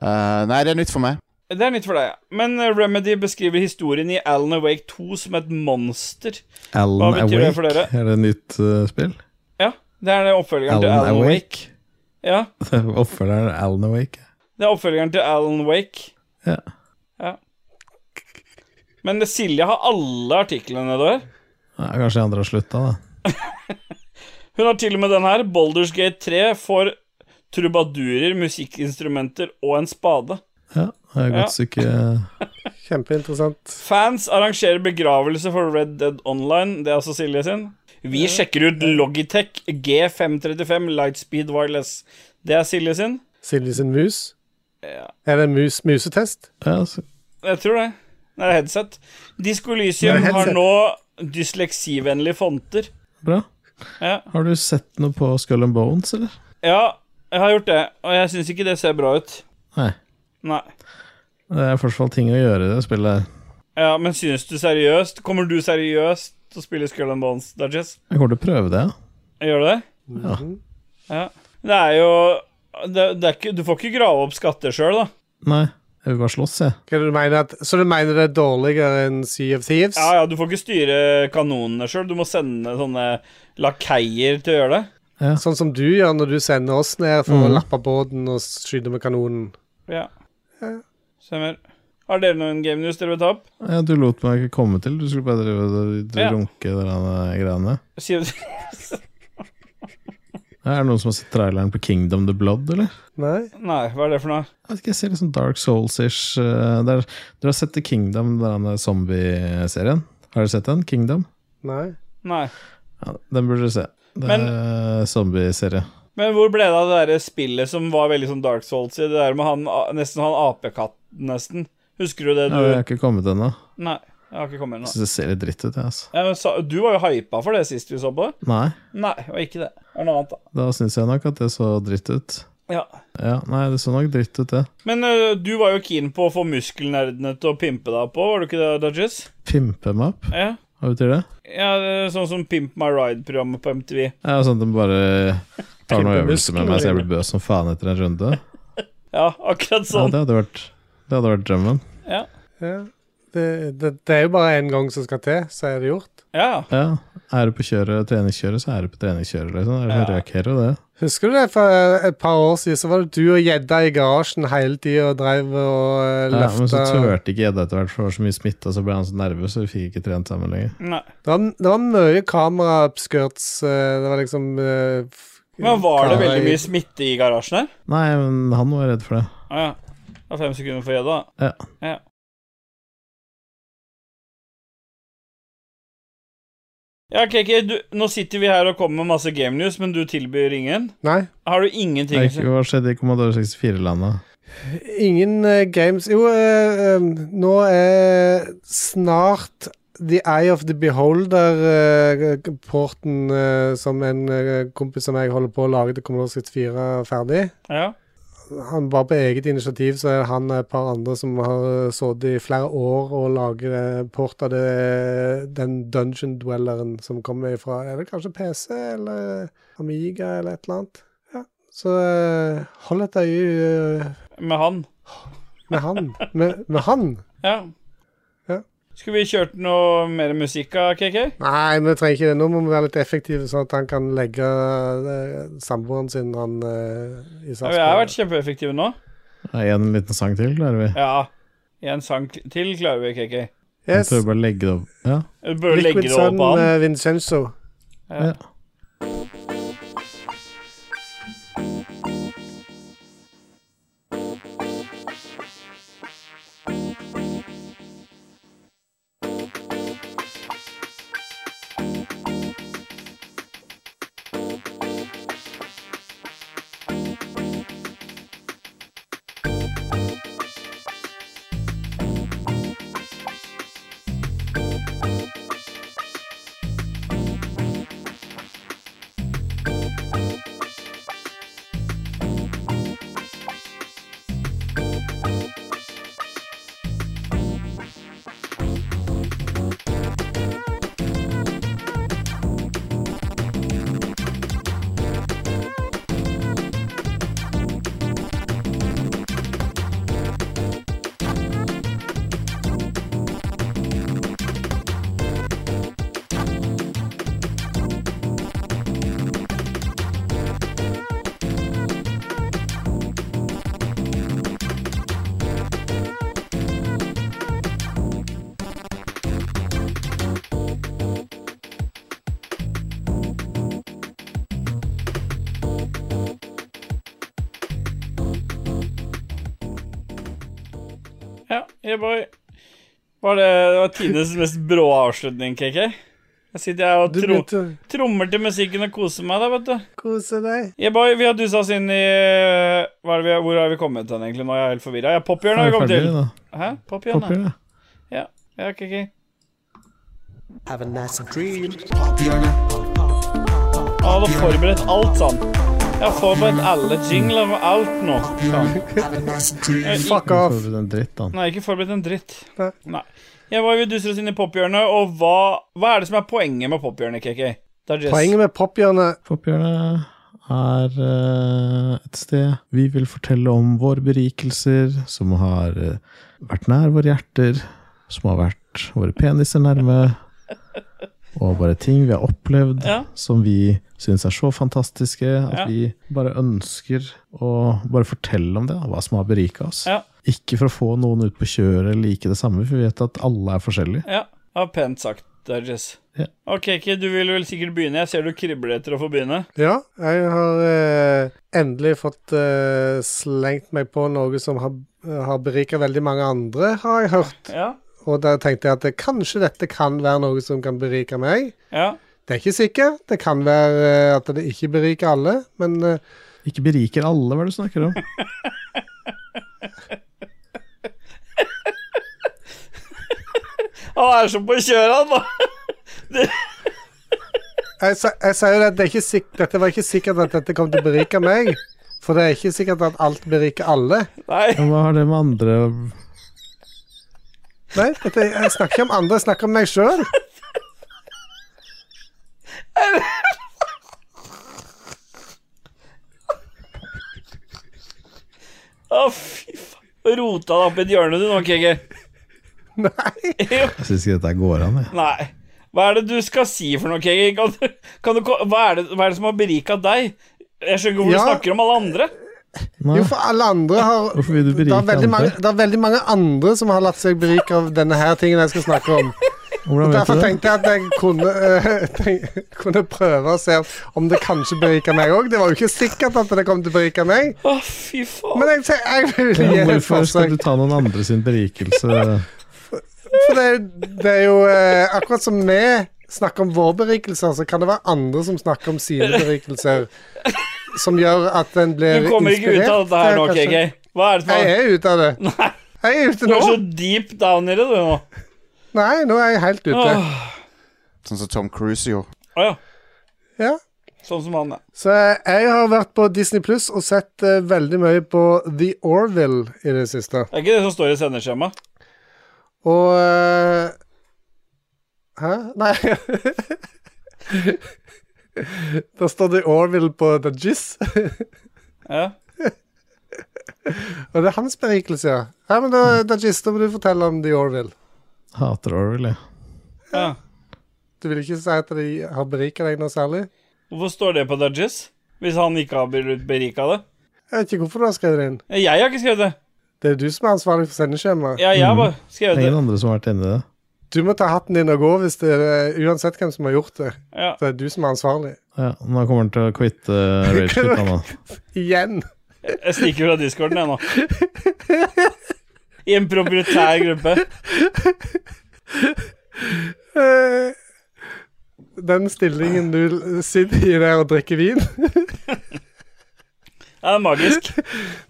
Eh, nei, det er nytt for meg.
Det er nytt for deg, ja. Men eh, Remedy beskriver historien i Alan Awake 2 som et monster.
Alan
betyr
Awake.
det for dere?
Er det et nytt eh, spill?
Ja, det er det oppfølgeren til Alan Wake. Ja,
Oppfølgeren er Alan Awake.
det er oppfølgeren til Alan Wake.
Ja.
Ja. Men eh, Silje har alle artiklene der.
Nei, kanskje andre har slutta, da.
Hun har til og med den her. Boulders Gate 3 får trubadurer, musikkinstrumenter og en spade.
Ja, det er et
Ja.
godt stykke eh,
Kjempeinteressant.
Fans arrangerer begravelse for Red Dead Online. Det er altså Silje sin. Vi sjekker ut Logitech G535 Lightspeed Wireless. Det er Silje sin.
Silje sin mus. Er det mus musetest?
ja, så,
Jeg tror det. Det er headset. Disko Elysium
Det er
har
headset.
nå dysleksivennlige fonter.
Bra.
Ja.
Har du sett noe på Skull and Bones, eller?
ja, jeg har gjort det, og jeg syns ikke det ser bra ut.
Nei.
Nei.
Det er i hvert fall ting å gjøre i det spillet. her.
Ja, Men syns du seriøst? Kommer du seriøst til å spille Skull and Bones, Dodges?
Jeg kommer til å prøve det, ja.
Gjør du det? Ja. Det er jo det, det er ikke, Du får ikke grave opp skatter sjøl, da.
Nei, jeg vil bare slåss, jeg.
Hva er det du mener at, så du mener det er dårligere enn Sea of Thieves?
Ja, ja, Du får ikke styre kanonene sjøl. Du må sende sånne lakeier til å gjøre det.
Sånn som du gjør når du sender oss ned for å
Mhm.
lappe båten og skyte med kanonen.
Ja. Stemmer. Har dere noen game news dere vil ta opp?
Ja, du lot meg ikke komme til. Du skulle bare drive og
Ja.
runke de der greiene.
Sier
Er det noen som har sett traileren på Kingdom the Blood, eller?
Nei?
Nei, hva er det for noe?
Jeg vet ikke, jeg ser litt sånn Dark Souls-ish eh, der- Dere har sett The Kingdom, den zombie-serien? Har dere sett den? Kingdom?
Nei?
Nei.
Ja, den burde dere se. Det er eh, zombie-serie.
Men hvor ble det av det der spillet som var veldig sånn Dark Souls i? Det der med han, a- nesten han apekatten, nesten. Husker du det
Ja,
du
Jeg har ikke kommet ennå.
Nei, jeg har ikke kommet
Jeg
ennå.
synes det ser litt dritt ut, jeg, altså.
Ja, men sa- Du var jo hypa for det sist vi så på det.
Nei,
Nei, det var ikke det. Det var noe annet, da.
da syns jeg nok at det så dritt ut.
Ja.
Ja, nei, det så nok dritt ut, det.
Men ø, du var jo keen på å få muskelnerdene til å pimpe deg på, var du ikke det, Dodges?
Pimpe meg opp,
Ja.
hva betyr det?
ja, det er sånn som Pimp my ride-programmet på MTV.
Ja, sånn at de bare tar noen
Pimpe
øvelser med
muskler.
meg så jeg blir bøs som faen etter en runde.
Ja, akkurat
Ja,
sånn.
det hadde vært, det hadde vært drømmen.
Ja,
Ja. Det, det, det er jo bare én gang som skal til, så er det gjort.
ja.
Ja, Er du på kjøret, treningskjøret, så er du på treningskjøret. liksom. Er du
Ja.
røkhero, det?
Husker du det for eh, et par år siden? Så var det du og gjedda i garasjen hele tida og dreiv og eh,
Ja, men så
løfta
turte ikke gjedda etter hvert, for det var så mye smitte, og så ble han så nervøs, så vi fikk ikke trent sammen lenger.
Nei.
Det var, det var mye kamera-upskirts. eh, Det var liksom eh, f-
Men var det
kamera
veldig
i-
mye smitte i garasjen her?
Nei, men han var redd for det.
Å ja. Det er fem sekunder for gjedda.
Ja.
Ja. Ja, KK, du, nå sitter vi her og kommer med masse game news, men du tilbyr ingen.
Nei.
Har du ingenting
Nei, ikke-
som
Hva skjedde i Commodore 64-landet?
Ingen eh, games Jo, eh, eh, nå er snart The Eye of the Beholder-porten som en eh, kompis som jeg holder på å lage til Commodore 64 ferdig.
Ja.
Han var på eget initiativ, så er han og et par andre som har eh, sittet i flere år og lager eh, port av det, den Dungeon Dwelleren som kommer fra Er det kanskje PC eller Amiga eller et eller annet? Ja. Så eh, hold et øye eh,
Med han.
med han. Med, med han?
Ja.
Ja.
Skulle vi kjørt noe mer musikk av KK?
Nei, vi trenger ikke det. Nå må vi være litt effektive, sånn at han kan legge eh, samboeren sin han, eh, i
Ja, vi har vært
sarpsborg.
kjempeeffektive nå.
Ja, en liten sang til, klarer vi.
Ja. En sang t- til klarer vi, KK.
Jeg
Yes.
prøver bare å legge det opp. Ja.
Du bør legge
Liquid
det over
Sun,
på han.
eh, Vincenzo.
Ja.
ja.
Ja, yeah boy. Var det, det var tidenes mest brå avslutning, KK? Jeg sitter her og
Du
tro,
begynte å
trommer til musikken og koser meg, da, vet du.
kose deg.
Yeah, boy, vi har dusa oss inn i eh, hva er det vi, Hvor har vi kommet hen, egentlig? Nå er jeg helt forvirra. Ja, Pophjørnet har vi
Er vi
kommet
ferdige,
til.
da?
Hæ?
Popper,
Pophjørnet?
ja.
Ja, KK.
Have a nice
Dream.
Han hadde forberedt alt sånn. Jeg har forberedt alle jingler og alt nå. Sånn. Jeg-
Fuck
Hvorfor
off.
er det en dritt, da?
Nei, ikke forberedt en dritt.
Nei.
Nei. Jeg var jo duser oss inn i pophjørnet, og hva, hva er det som er poenget med pophjørnet, KK? Det er Jess.
Poenget med pophjørnet
Pophjørnet er eh, et sted vi vil fortelle om våre berikelser, som har eh, vært nær våre hjerter, som har vært våre peniser nærme, og bare ting vi har opplevd
Ja.
som vi syns er så fantastiske at
Ja.
vi bare ønsker å bare fortelle om det, da, hva som har berika oss.
Ja.
Ikke for å få noen ut på kjøret like det samme, for vi vet at alle er forskjellige.
Ja, det var pent sagt. Dodges.
Ja.
OK, Kid, du vil vel sikkert begynne? Jeg ser du kribler etter å få begynne.
Ja, jeg har eh, endelig fått eh, slengt meg på noe som har, har berika veldig mange andre, har jeg hørt.
Ja.
Og der tenkte jeg at eh, kanskje dette kan være noe som kan berike meg.
Ja.
Det er ikke sikkert. Det kan være eh, at det ikke beriker alle, men eh,
Ikke beriker alle, hva er det du snakker om?
Han er så på kjøret, han, da.
jeg, sa- jeg sier jo det, at det er ikke sikk- dette var ikke sikkert at dette kom til å berike meg. For det er ikke sikkert at alt beriker alle.
Nei.
Ja, Hva har det med andre
Nei, dette, jeg snakker ikke om andre, jeg snakker om meg sjøl.
Å, fy faen. Rota deg opp i et hjørne, du nå, KG.
Nei.
Jo.
Jeg syns ikke dette går an, jeg.
Nei. Hva er det du skal si for noe, KG? Kan, du- kan du, ko- hva, er det, hva er det som har berika deg? Jeg skjønner ikke hvorfor
Ja.
du snakker om alle andre.
Nei.
Jo, for alle andre har
Hvorfor vil du
det er,
berike
veldig mange,
andre?
det er veldig mange andre som har latt seg berike av denne her tingen jeg skal snakke om.
Hvordan vet
Derfor
du det?
tenkte jeg at jeg kunne, eh, tenk, kunne prøve å se om det kanskje beriker meg òg. Det var jo ikke sikkert at det kom til å berike meg,
Å, fy faen.
men jeg, te- jeg vil gi
Ja,
det et
hvorfor skal
forsøk.
du ta noen andre sin berikelse?
For det, er- det er jo eh, akkurat som vi snakker om våre berikelser, så kan det være andre som snakker om sine berikelser, som gjør at en blir
Du kommer ikke ut av dette her nå,
kanskje.
KG. Hva er det som
Jeg
har
er ute av det.
Nei,
Jeg er ute
du
nå.
er så deep down i det, du nå.
Nei, nå er jeg helt ute.
Åh,
Sånn som Tom Cruise gjorde.
Å ja.
Ja.
Sånn som han, ja.
Så jeg har vært på Disney Pluss og sett eh, veldig mye på The Orville i det siste.
Det er ikke det som står i sendeskjemaet.
Og eh, Hæ? Nei. Da står The Orville på The Jizz.
Ja.
Og det er hans berikelse, ja. Ja, men da,
Mm.
The Jizz, da må du fortelle om The Orville.
Hater Orwell, jeg.
ja.
Du vil ikke si at de har berika deg noe særlig?
Hvorfor står det på Dudges? Hvis han ikke har blitt berika av det?
Jeg vet ikke hvorfor du har skrevet det inn.
Jeg har ikke skrevet det.
Det er du som er ansvarlig for sendeskjemaet.
Ja, jeg har bare
Det er
skrevet det.
ingen andre som har vært enig i det.
Du må ta hatten din og gå hvis det er, eh, uansett hvem som har gjort det.
Ja.
Det er du som er ansvarlig.
Ja, nå kommer han til å quitte eh, Rage Quit, han da.
Igjen.
Jeg stikker fra discorden, jeg nå. I en proprietær gruppe.
Eh, Den stillingen du l- sitter i der og drikker vin
Ja, det er magisk.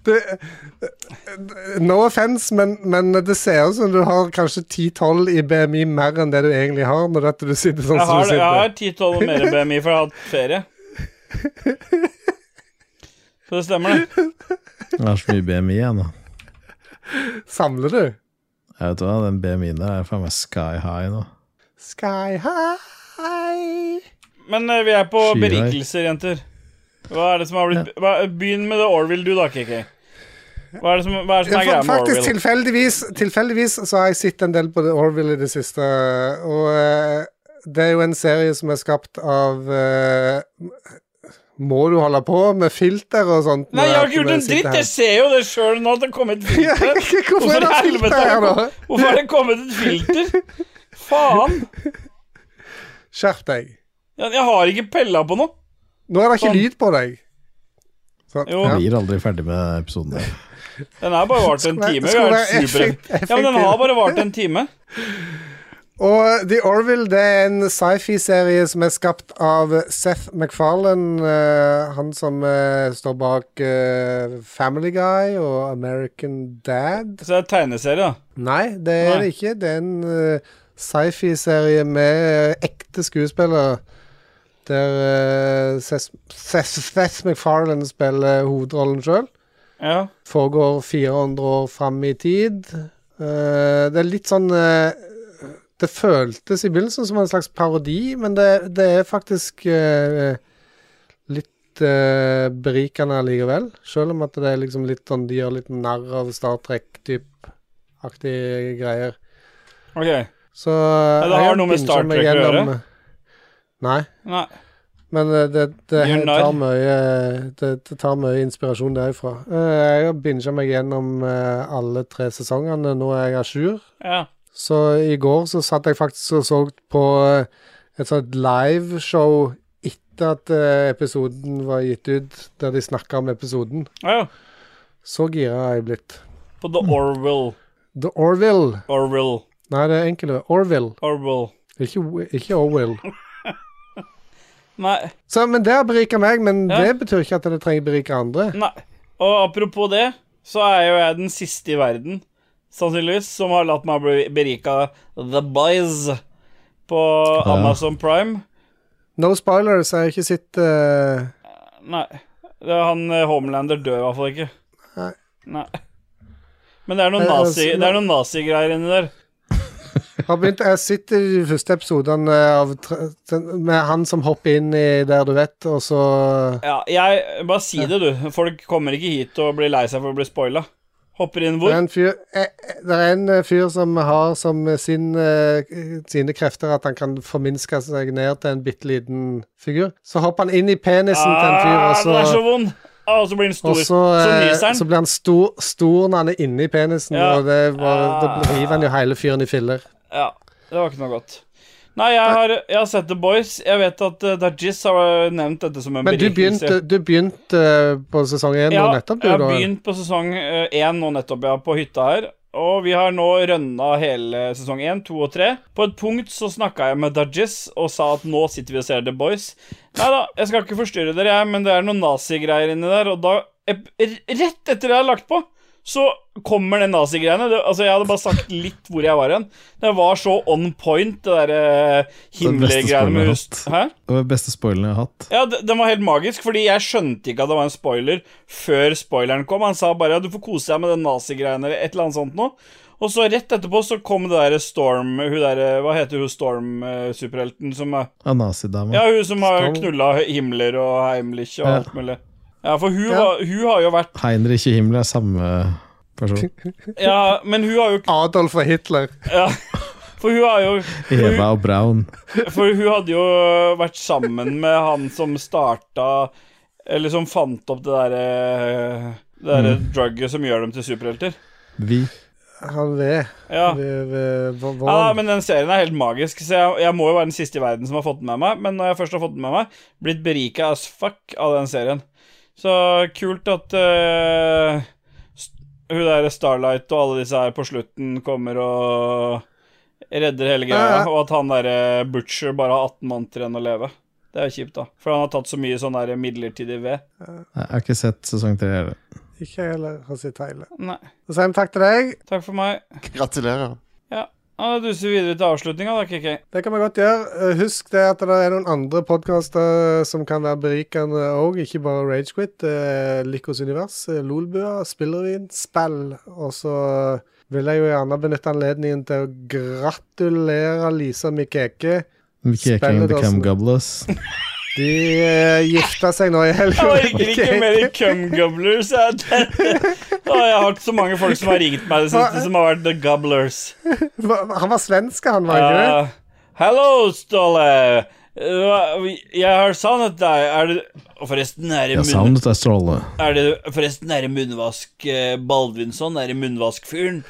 det, eh, No offense, men, men det ser ut som du har kanskje 10-12 i BMI mer enn det du egentlig har, når dette du sitter sånn
Jeg
som du
har, jeg
sitter.
har 10-12 og mer BMI for jeg har hatt ferie. Så det stemmer, det.
Jeg har så mye BMI igjen, da.
Samler du?
Jeg vet hva, den BMI-en der er faen meg sky high nå.
Sky high
Men eh, vi er på
Skyhøy.
berikelser, jenter. Hva er det som har blitt hva, Begynn med det Orville du, da, KK. Hva er det som, hva er, det som er
Ja,
greia
fa-
med
Faktisk,
Orville?
tilfeldigvis, tilfeldigvis så har jeg sett en del på The Orville i det siste, og eh, det er jo en serie som er skapt av eh, Må du holde på med filter og sånt?
Nei, jeg har ikke
Når
gjort en
sitter
dritt!
her.
Jeg ser jo det sjøl nå, at det kom et filter.
Hvorfor er det
i helvete
filter
har
her,
det
da?
kom- Hvorfor er det kommet et filter? Faen!
Skjerp deg.
Jeg, jeg har ikke pella på noe.
Nå er det ikke
Sånn.
lyd på deg. Sånn.
Jo.
Ja.
Blir aldri ferdig med episoden der.
Den har bare vart en
Skulle-
time. Vi
skulle
har
være
vært super...
effektiv-
Ja, men den har bare vart en time.
Og The Orville det er en sci-fi-serie som er skapt av Seth MacFarlane. eh, han som eh, står bak eh, Family Guy og American Dad.
Så det er tegneserie, da.
Nei, det er
Nei.
det ikke. Det er en eh, sci-fi-serie med eh, ekte skuespillere. Der eh, Seth, Seth, Seth MacFarlane spiller hovedrollen sjøl
Ja.
foregår 400 år fram i tid. Eh, det er litt sånn eh, Det føltes i begynnelsen som en slags parodi, men det, det er faktisk eh, litt eh, berikende allikevel. Selv om at det er liksom litt sånn de gjør litt narr av Star Trek-type-aktige greier.
OK. Nei.
Så
det har noe med Star Trek å gjøre?
Nei. Men eh, det, det,
Gjør narr.
tar mye, det, det tar mye inspirasjon derifra. Eh, Jeg har binga meg gjennom eh, alle tre sesongene. Nå er jeg à jour.
Ja.
Så i går så satt jeg faktisk og så på eh, et sånt liveshow etter at eh, episoden var gitt ut, der de snakka om episoden.
Ja, ja.
Så gira har jeg blitt.
På The Orwell.
The Orville.
Orwell.
Nei, det er enkelt. Orville.
Orwell.
Ikke, ikke Orwell.
Nei.
Så, men det har berika meg, men
Ja.
det betyr ikke at det trenger berike andre.
Nei. Og apropos det, så er jo jeg den siste i verden, sannsynligvis, som har latt meg bli berika av The Boys på
Ja.
Amazon Prime.
No spoilers, jeg har ikke sett eh,
Nei. Det er han eh, Homelander dør i hvert fall ikke.
Nei.
Nei. Men det er noen
Eh, altså,
nazi- det er noen nazigreier inni der.
har begynt, Jeg sitter i de første episodene av, tre- den- med han som hopper inn i der du vet, og så
Ja, jeg Bare si det, du. Folk kommer ikke hit og blir lei seg for å bli spoila. Hopper inn
det
hvor?
er, en fyr, eh, eh, det er en eh, fyr som har som sin, eh, sine krefter at han kan forminske seg ned til en bitte liten figur. Så hopper han inn i penisen til en fyr,
Ah,
og så,
den er så vond! Ah, og så blir den stor.
og så,
så
eh,
nyser
så
den.
blir han stor, stor når han er inni penisen,
Ja.
og det, var,
Ah.
da river han jo hele fyren i filler.
Ja, det var ikke noe godt. Nei, jeg har, jeg har sett The Boys. Jeg vet at uh, Dajis har nevnt dette som en
Men du
berikelse.
begynte, du begynte eh, på sesong én nå nettopp, du?
jeg har
da?
begynt på sesong eh, én nå nettopp, ja, på hytta her. Og vi har nå rønna hele sesong én, to og tre. På et punkt så snakka jeg med Dudgies og sa at nå sitter vi og ser The Boys. Nei da, jeg skal ikke forstyrre dere, jeg, men det er noen nazigreier inni der, og da ep- r- Rett etter jeg har lagt på, så kommer den nazigreiene. Det- Altså, jeg hadde bare sagt litt hvor jeg var hen. Det var så on point, det derre himmelgreiene med hus...
spoiler jeg
Hæ?
Det var den beste spoileren jeg har hatt.
Ja, d- den var helt magisk, fordi jeg skjønte ikke at det var en spoiler før spoileren kom. Han sa bare ja, du får kose deg med den nazigreiene eller et eller annet sånt noe. Og så rett etterpå så kom det derre Storm Hun derre Hva heter hun Storm-superhelten som er
Ja, nazidama.
Ja, hun som har
Storm.
knulla Himmler og Heimlich og
Ja.
alt mulig. Ja, for hun,
Ja.
Var, hun har jo vært
Heinrich og Himmler er samme person.
Ja, men hun har jo
Adolf og Hitler.
ja, For hun har jo for hun,
Eva og Brown.
For hun hadde jo vært sammen med han som starta Eller som fant opp det derre Det derre
Mm.
drugget som gjør dem til superhelter.
Vi.
Han ved,
Ja.
ved, ved vå-
ja,
våren.
men den serien er helt magisk, så jeg, jeg må jo være den siste i verden som har fått den med meg. Men når jeg først har fått den med meg, blitt berika as fuck av den serien. Så kult at eh, st- hun derre Starlight og alle disse her på slutten kommer og redder hele greia.
Ja, ja.
Og at han derre Butcher bare har 18 måneder igjen å leve. Det er jo kjipt, da. For han har tatt så mye sånn der midlertidig ved.
Jeg har ikke sett sesong tre heller.
Ikke jeg heller har sett hele.
Nei.
Så sier vi takk til deg.
Takk for meg.
Gratulerer.
Ja, da duser vi videre til avslutninga, da, Kikki.
Det kan vi godt gjøre. Eh, Husk det at det er noen andre podkaster som kan være berikende òg, ikke bare Ragequit. Likos univers, eh, Lolbua, Spillervin, Spill. Og så eh, vil jeg jo gjerne benytte anledningen til å gratulere Lisa Mikeke.
Mickey Eking
Spennende,
became
altså.
gobless.
De eh, gifta seg nå i helga.
Jeg orker ikke mer cum-gobblers. Jeg, Å, jeg har hatt så mange folk som har ringt meg det siste, som har vært the gobblers.
Hva- Han var svensk, han, var ikke det?
Eh, Hallo, Ståle. Hva- vi- Jeg har savnet deg. Er det Og Forresten, er det,
Jeg
munn,
savnet deg, Stråle.
er det, forresten, er det munnvask eh, Baldvinsson? Er det munnvaskfyren?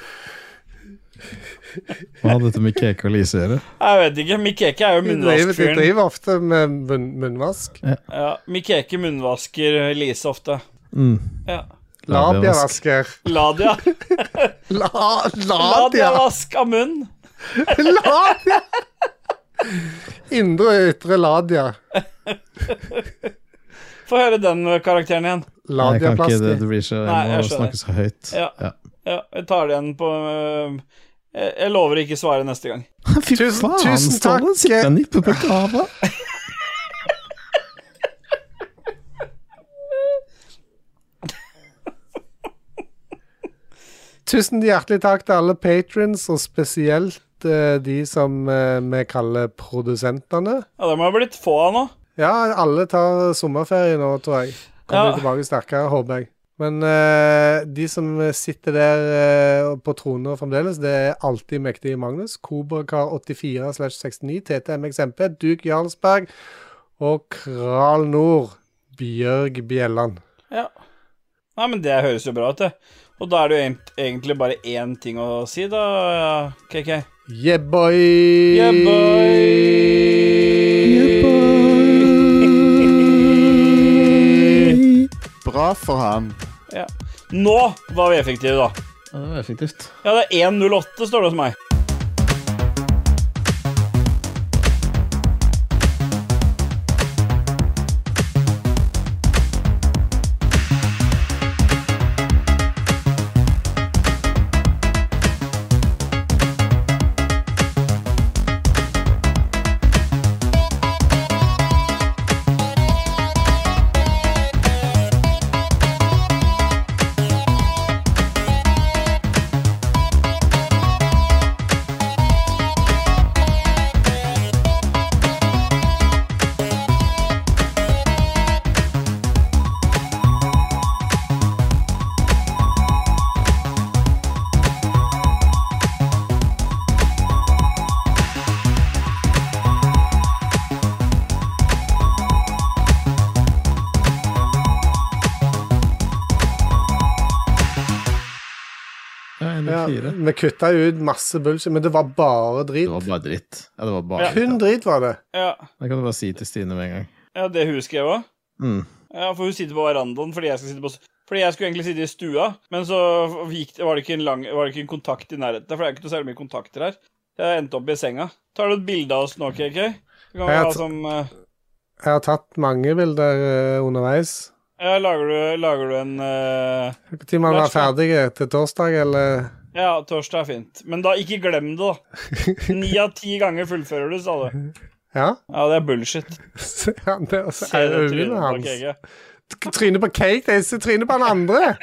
Hva hadde dette med Keke og Lise å gjøre?
Jeg vet ikke. Mikeke er jo
De driver, de
munnvaskfyren.
driver ofte med munn, munnvask.
Ja, Mikeke munnvasker eh, Lise ofte.
Mm.
Ja.
Labiavask.
Labiavasker.
Ladia.
La, ladia!
Ladiavask av munn.
Ladia! Indre og ytre ladia.
Få høre den karakteren igjen.
Nei, Jeg kan ikke, det,
Ladiaplastikk.
det blir så,
Nei,
jeg
jeg
må
skjønner.
snakke så høyt.
Ja.
Ja.
Ja, jeg tar det igjen på øh, jeg, jeg lover å ikke svare neste gang.
Fy
Tusen-
faen,
tusen
Ståle,
takk.
Sitter og nipper på kava.
Tusen hjertelig takk til alle patrons, og spesielt eh, de som eh, vi kaller produsentene.
Ja, Det må ha blitt få av nå.
Ja, alle tar sommerferie nå, tror jeg. Kommer
Ja.
tilbake sterkere, håper jeg. Men eh, de som sitter der eh, på troner fremdeles, det er alltid mektige Magnus. Kobrakar84-69, TTMXMP, Duke Jarlsberg og Kral Nord, Bjørg Bjelland.
Ja. Nei, men det høres jo bra ut, det. Og da er det jo egent- egentlig bare én ting å si, da, KK.
Yeah, boy!
Yeah, boy!
Bra for han.
Ja. Nå var vi effektive, da.
Ja, det var effektivt.
Ja, det er 1.08 står det hos meg.
Ja, en
Ja,
av fire.
vi kutta jo ut masse bullshit, men det var bare
Det
drit.
var bare dritt. Ja, det var bare
Ja.
Kun drit var det.
Ja,
Det kan du bare si til Stine med en gang.
ja det hun skrev òg.
Mm.
Ja, for hun sitter på verandaen fordi jeg skal sitte på s- fordi jeg skulle egentlig sitte i stua, men så gikk, det- var, det ikke en lang, var det ikke en kontakt i nærheten. For det er ikke noe særlig mye kontakter her. Jeg endte opp i senga. Tar du et bilde av oss nå, KK? Så kan vi
Jeg
ha
t-
som eh,
Jeg har tatt mange bilder eh, underveis.
Ja, lager du, lager du en eh,
Når man var
Lars,
ferdig eh, til torsdag, eller
Ja, torsdag er fint. Men da ikke glem det, da. Ni av ti ganger fullfører du, sa du.
Ja.
Ja, det er bullshit.
Se han der, og så
Se
er
det trynet
øynene
på
hans.
KK.
K- Trynet på cake, det er ikke trynet på han andre.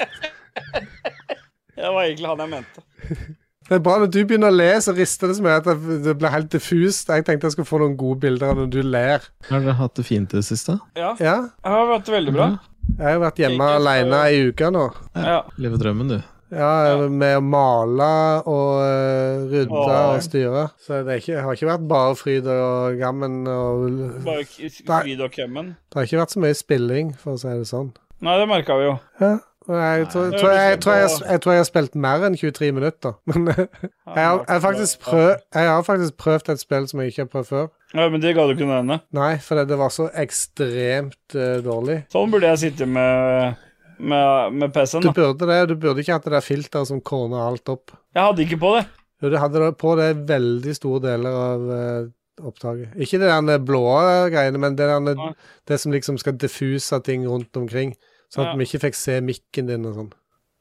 Det var egentlig han jeg mente.
Det er bra når du begynner å le, så rister det så mye at det- det blir helt diffust. Jeg tenkte jeg skulle få noen gode bilder av når du ler.
Har dere hatt det fint i det siste?
Ja, det
Ja,
har vært veldig bra.
jeg har vært hjemme
Cake er så-
alene ei uke nå.
Ja.
Leve drømmen, du.
Ja, med å male og eh, rydde
Åh.
og styre. Så det er ikke, har ikke vært bare fryd og gammen. Og,
Bare k- fryd og kømmen.
det har ikke vært så mye spilling, for å si det sånn.
Nei, det merka vi jo.
Ja. og Jeg
Nei,
tror, tror jeg,
det er
jeg, tror jeg,
liksom
jeg tror jeg har spilt mer enn 23 minutter. Men jeg har, jeg, har faktisk prøv, jeg har faktisk prøvd et spill som jeg ikke har prøvd før.
Ja, Men det ga du ikke noe ende.
Nei, for det, det var så ekstremt eh, dårlig.
Sånn burde jeg sitte med, med, med
Du
PC-en. da.
burde det, og du burde ikke hatt det der filteret som korner alt opp.
Jeg hadde ikke på det.
Jo, Du hadde det på det veldig store deler av eh, opptaket. Ikke det der blå greiene, men det, der,
Nei.
det som liksom skal diffuse ting rundt omkring. Sånn at
Ja.
vi ikke fikk se mikken din og sånn.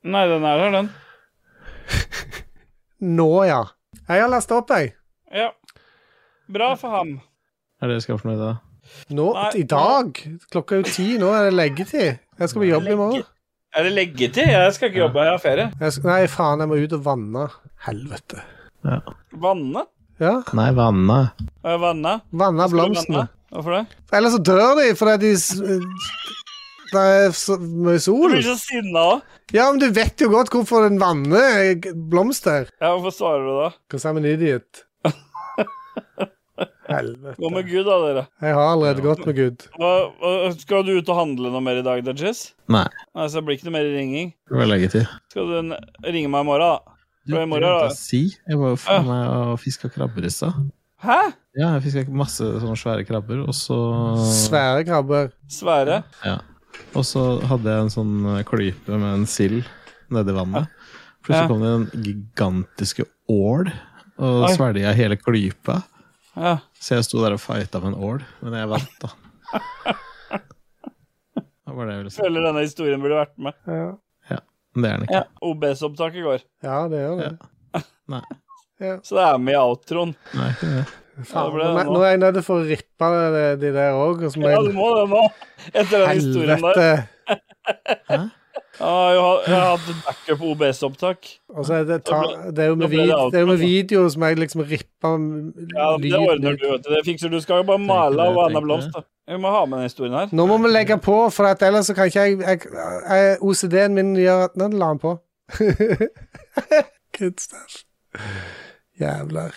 Nei, den er her, den.
Nå, ja. Jeg har lasta opp, jeg.
Ja. Bra for ham.
Er dere skal fornøyd da?
Nå,
Nei,
I dag? Klokka er jo ti. Nå er det leggetid. Jeg skal på jobb i morgen.
Legge- Er det leggetid? Jeg skal ikke jobbe, jeg har ferie.
Jeg skal, nei, faen, jeg må ut og vanne. Helvete.
Vanne?
Ja,
Nei, vanna.
Har jeg Vanne?
vanne
Skal du
blomstene.
vanne? Hvorfor det?
Ellers så dør de fordi de s- Det er så mye
Du
sol.
blir så sinna òg.
Ja, men du vet jo godt hvorfor den vanner eh, blomster.
Ja, hvorfor svarer du da?
Because I'm an idiot. Helvete.
Gå med Gud, da, dere.
Jeg har allerede gått med Gud.
Hva, hva- skal du ut og handle noe mer i dag, Dodges?
Nei.
Nei, så det blir ikke noe mer ringing.
Det var lenge til.
Skal du n- ringe meg i morgen, da? Det var i morgen,
glemte
da.
jeg å Si. Jeg var jo faen meg og fiska krabber i stad.
Hæ?
Ja, jeg fiska masse sånne svære krabber, og så
Svære krabber.
Svære?
Ja. Og så hadde jeg en sånn eh, klype med en sild nedi vannet.
Ja.
Plutselig kom det en gigantiske ål og
Oi.
svelga hele klypa.
Ja.
Så jeg sto der og fighta med en ål, men jeg vant, da. Det var det jeg ville si.
Føler denne historien burde vært med.
Ja,
Men Det er den ikke.
Ja. OBS-opptaket går.
ja det gjør det.
Nei.
Så det er med i outroen.
Nei, ikke det.
Ja, det
Faen,
ble det
nå,
nå.
nå er jeg nødt til å rippe de, de der òg. Og så må
Ja, du
jeg
må det nå. Etter den historien der.
Helvete.
Ja, jeg har, jeg har hatt et backup OBS-opptak.
Og så er Altså, det, ta,
Da
det er jo
da
med,
ble det
vid,
alt
det er jo med
bra, da.
video som jeg liksom ripper
Ja, Det ordner
lyden
du, vet du. Det fikser du. Du skal jo bare male
det,
og vanne
tenker
blomst. da. Vi må ha med den historien her.
Nå må vi legge på, for at ellers så kan ikke jeg, jeg, jeg OCD-en min gjør at Nå la han på. Good stuff. Jævler.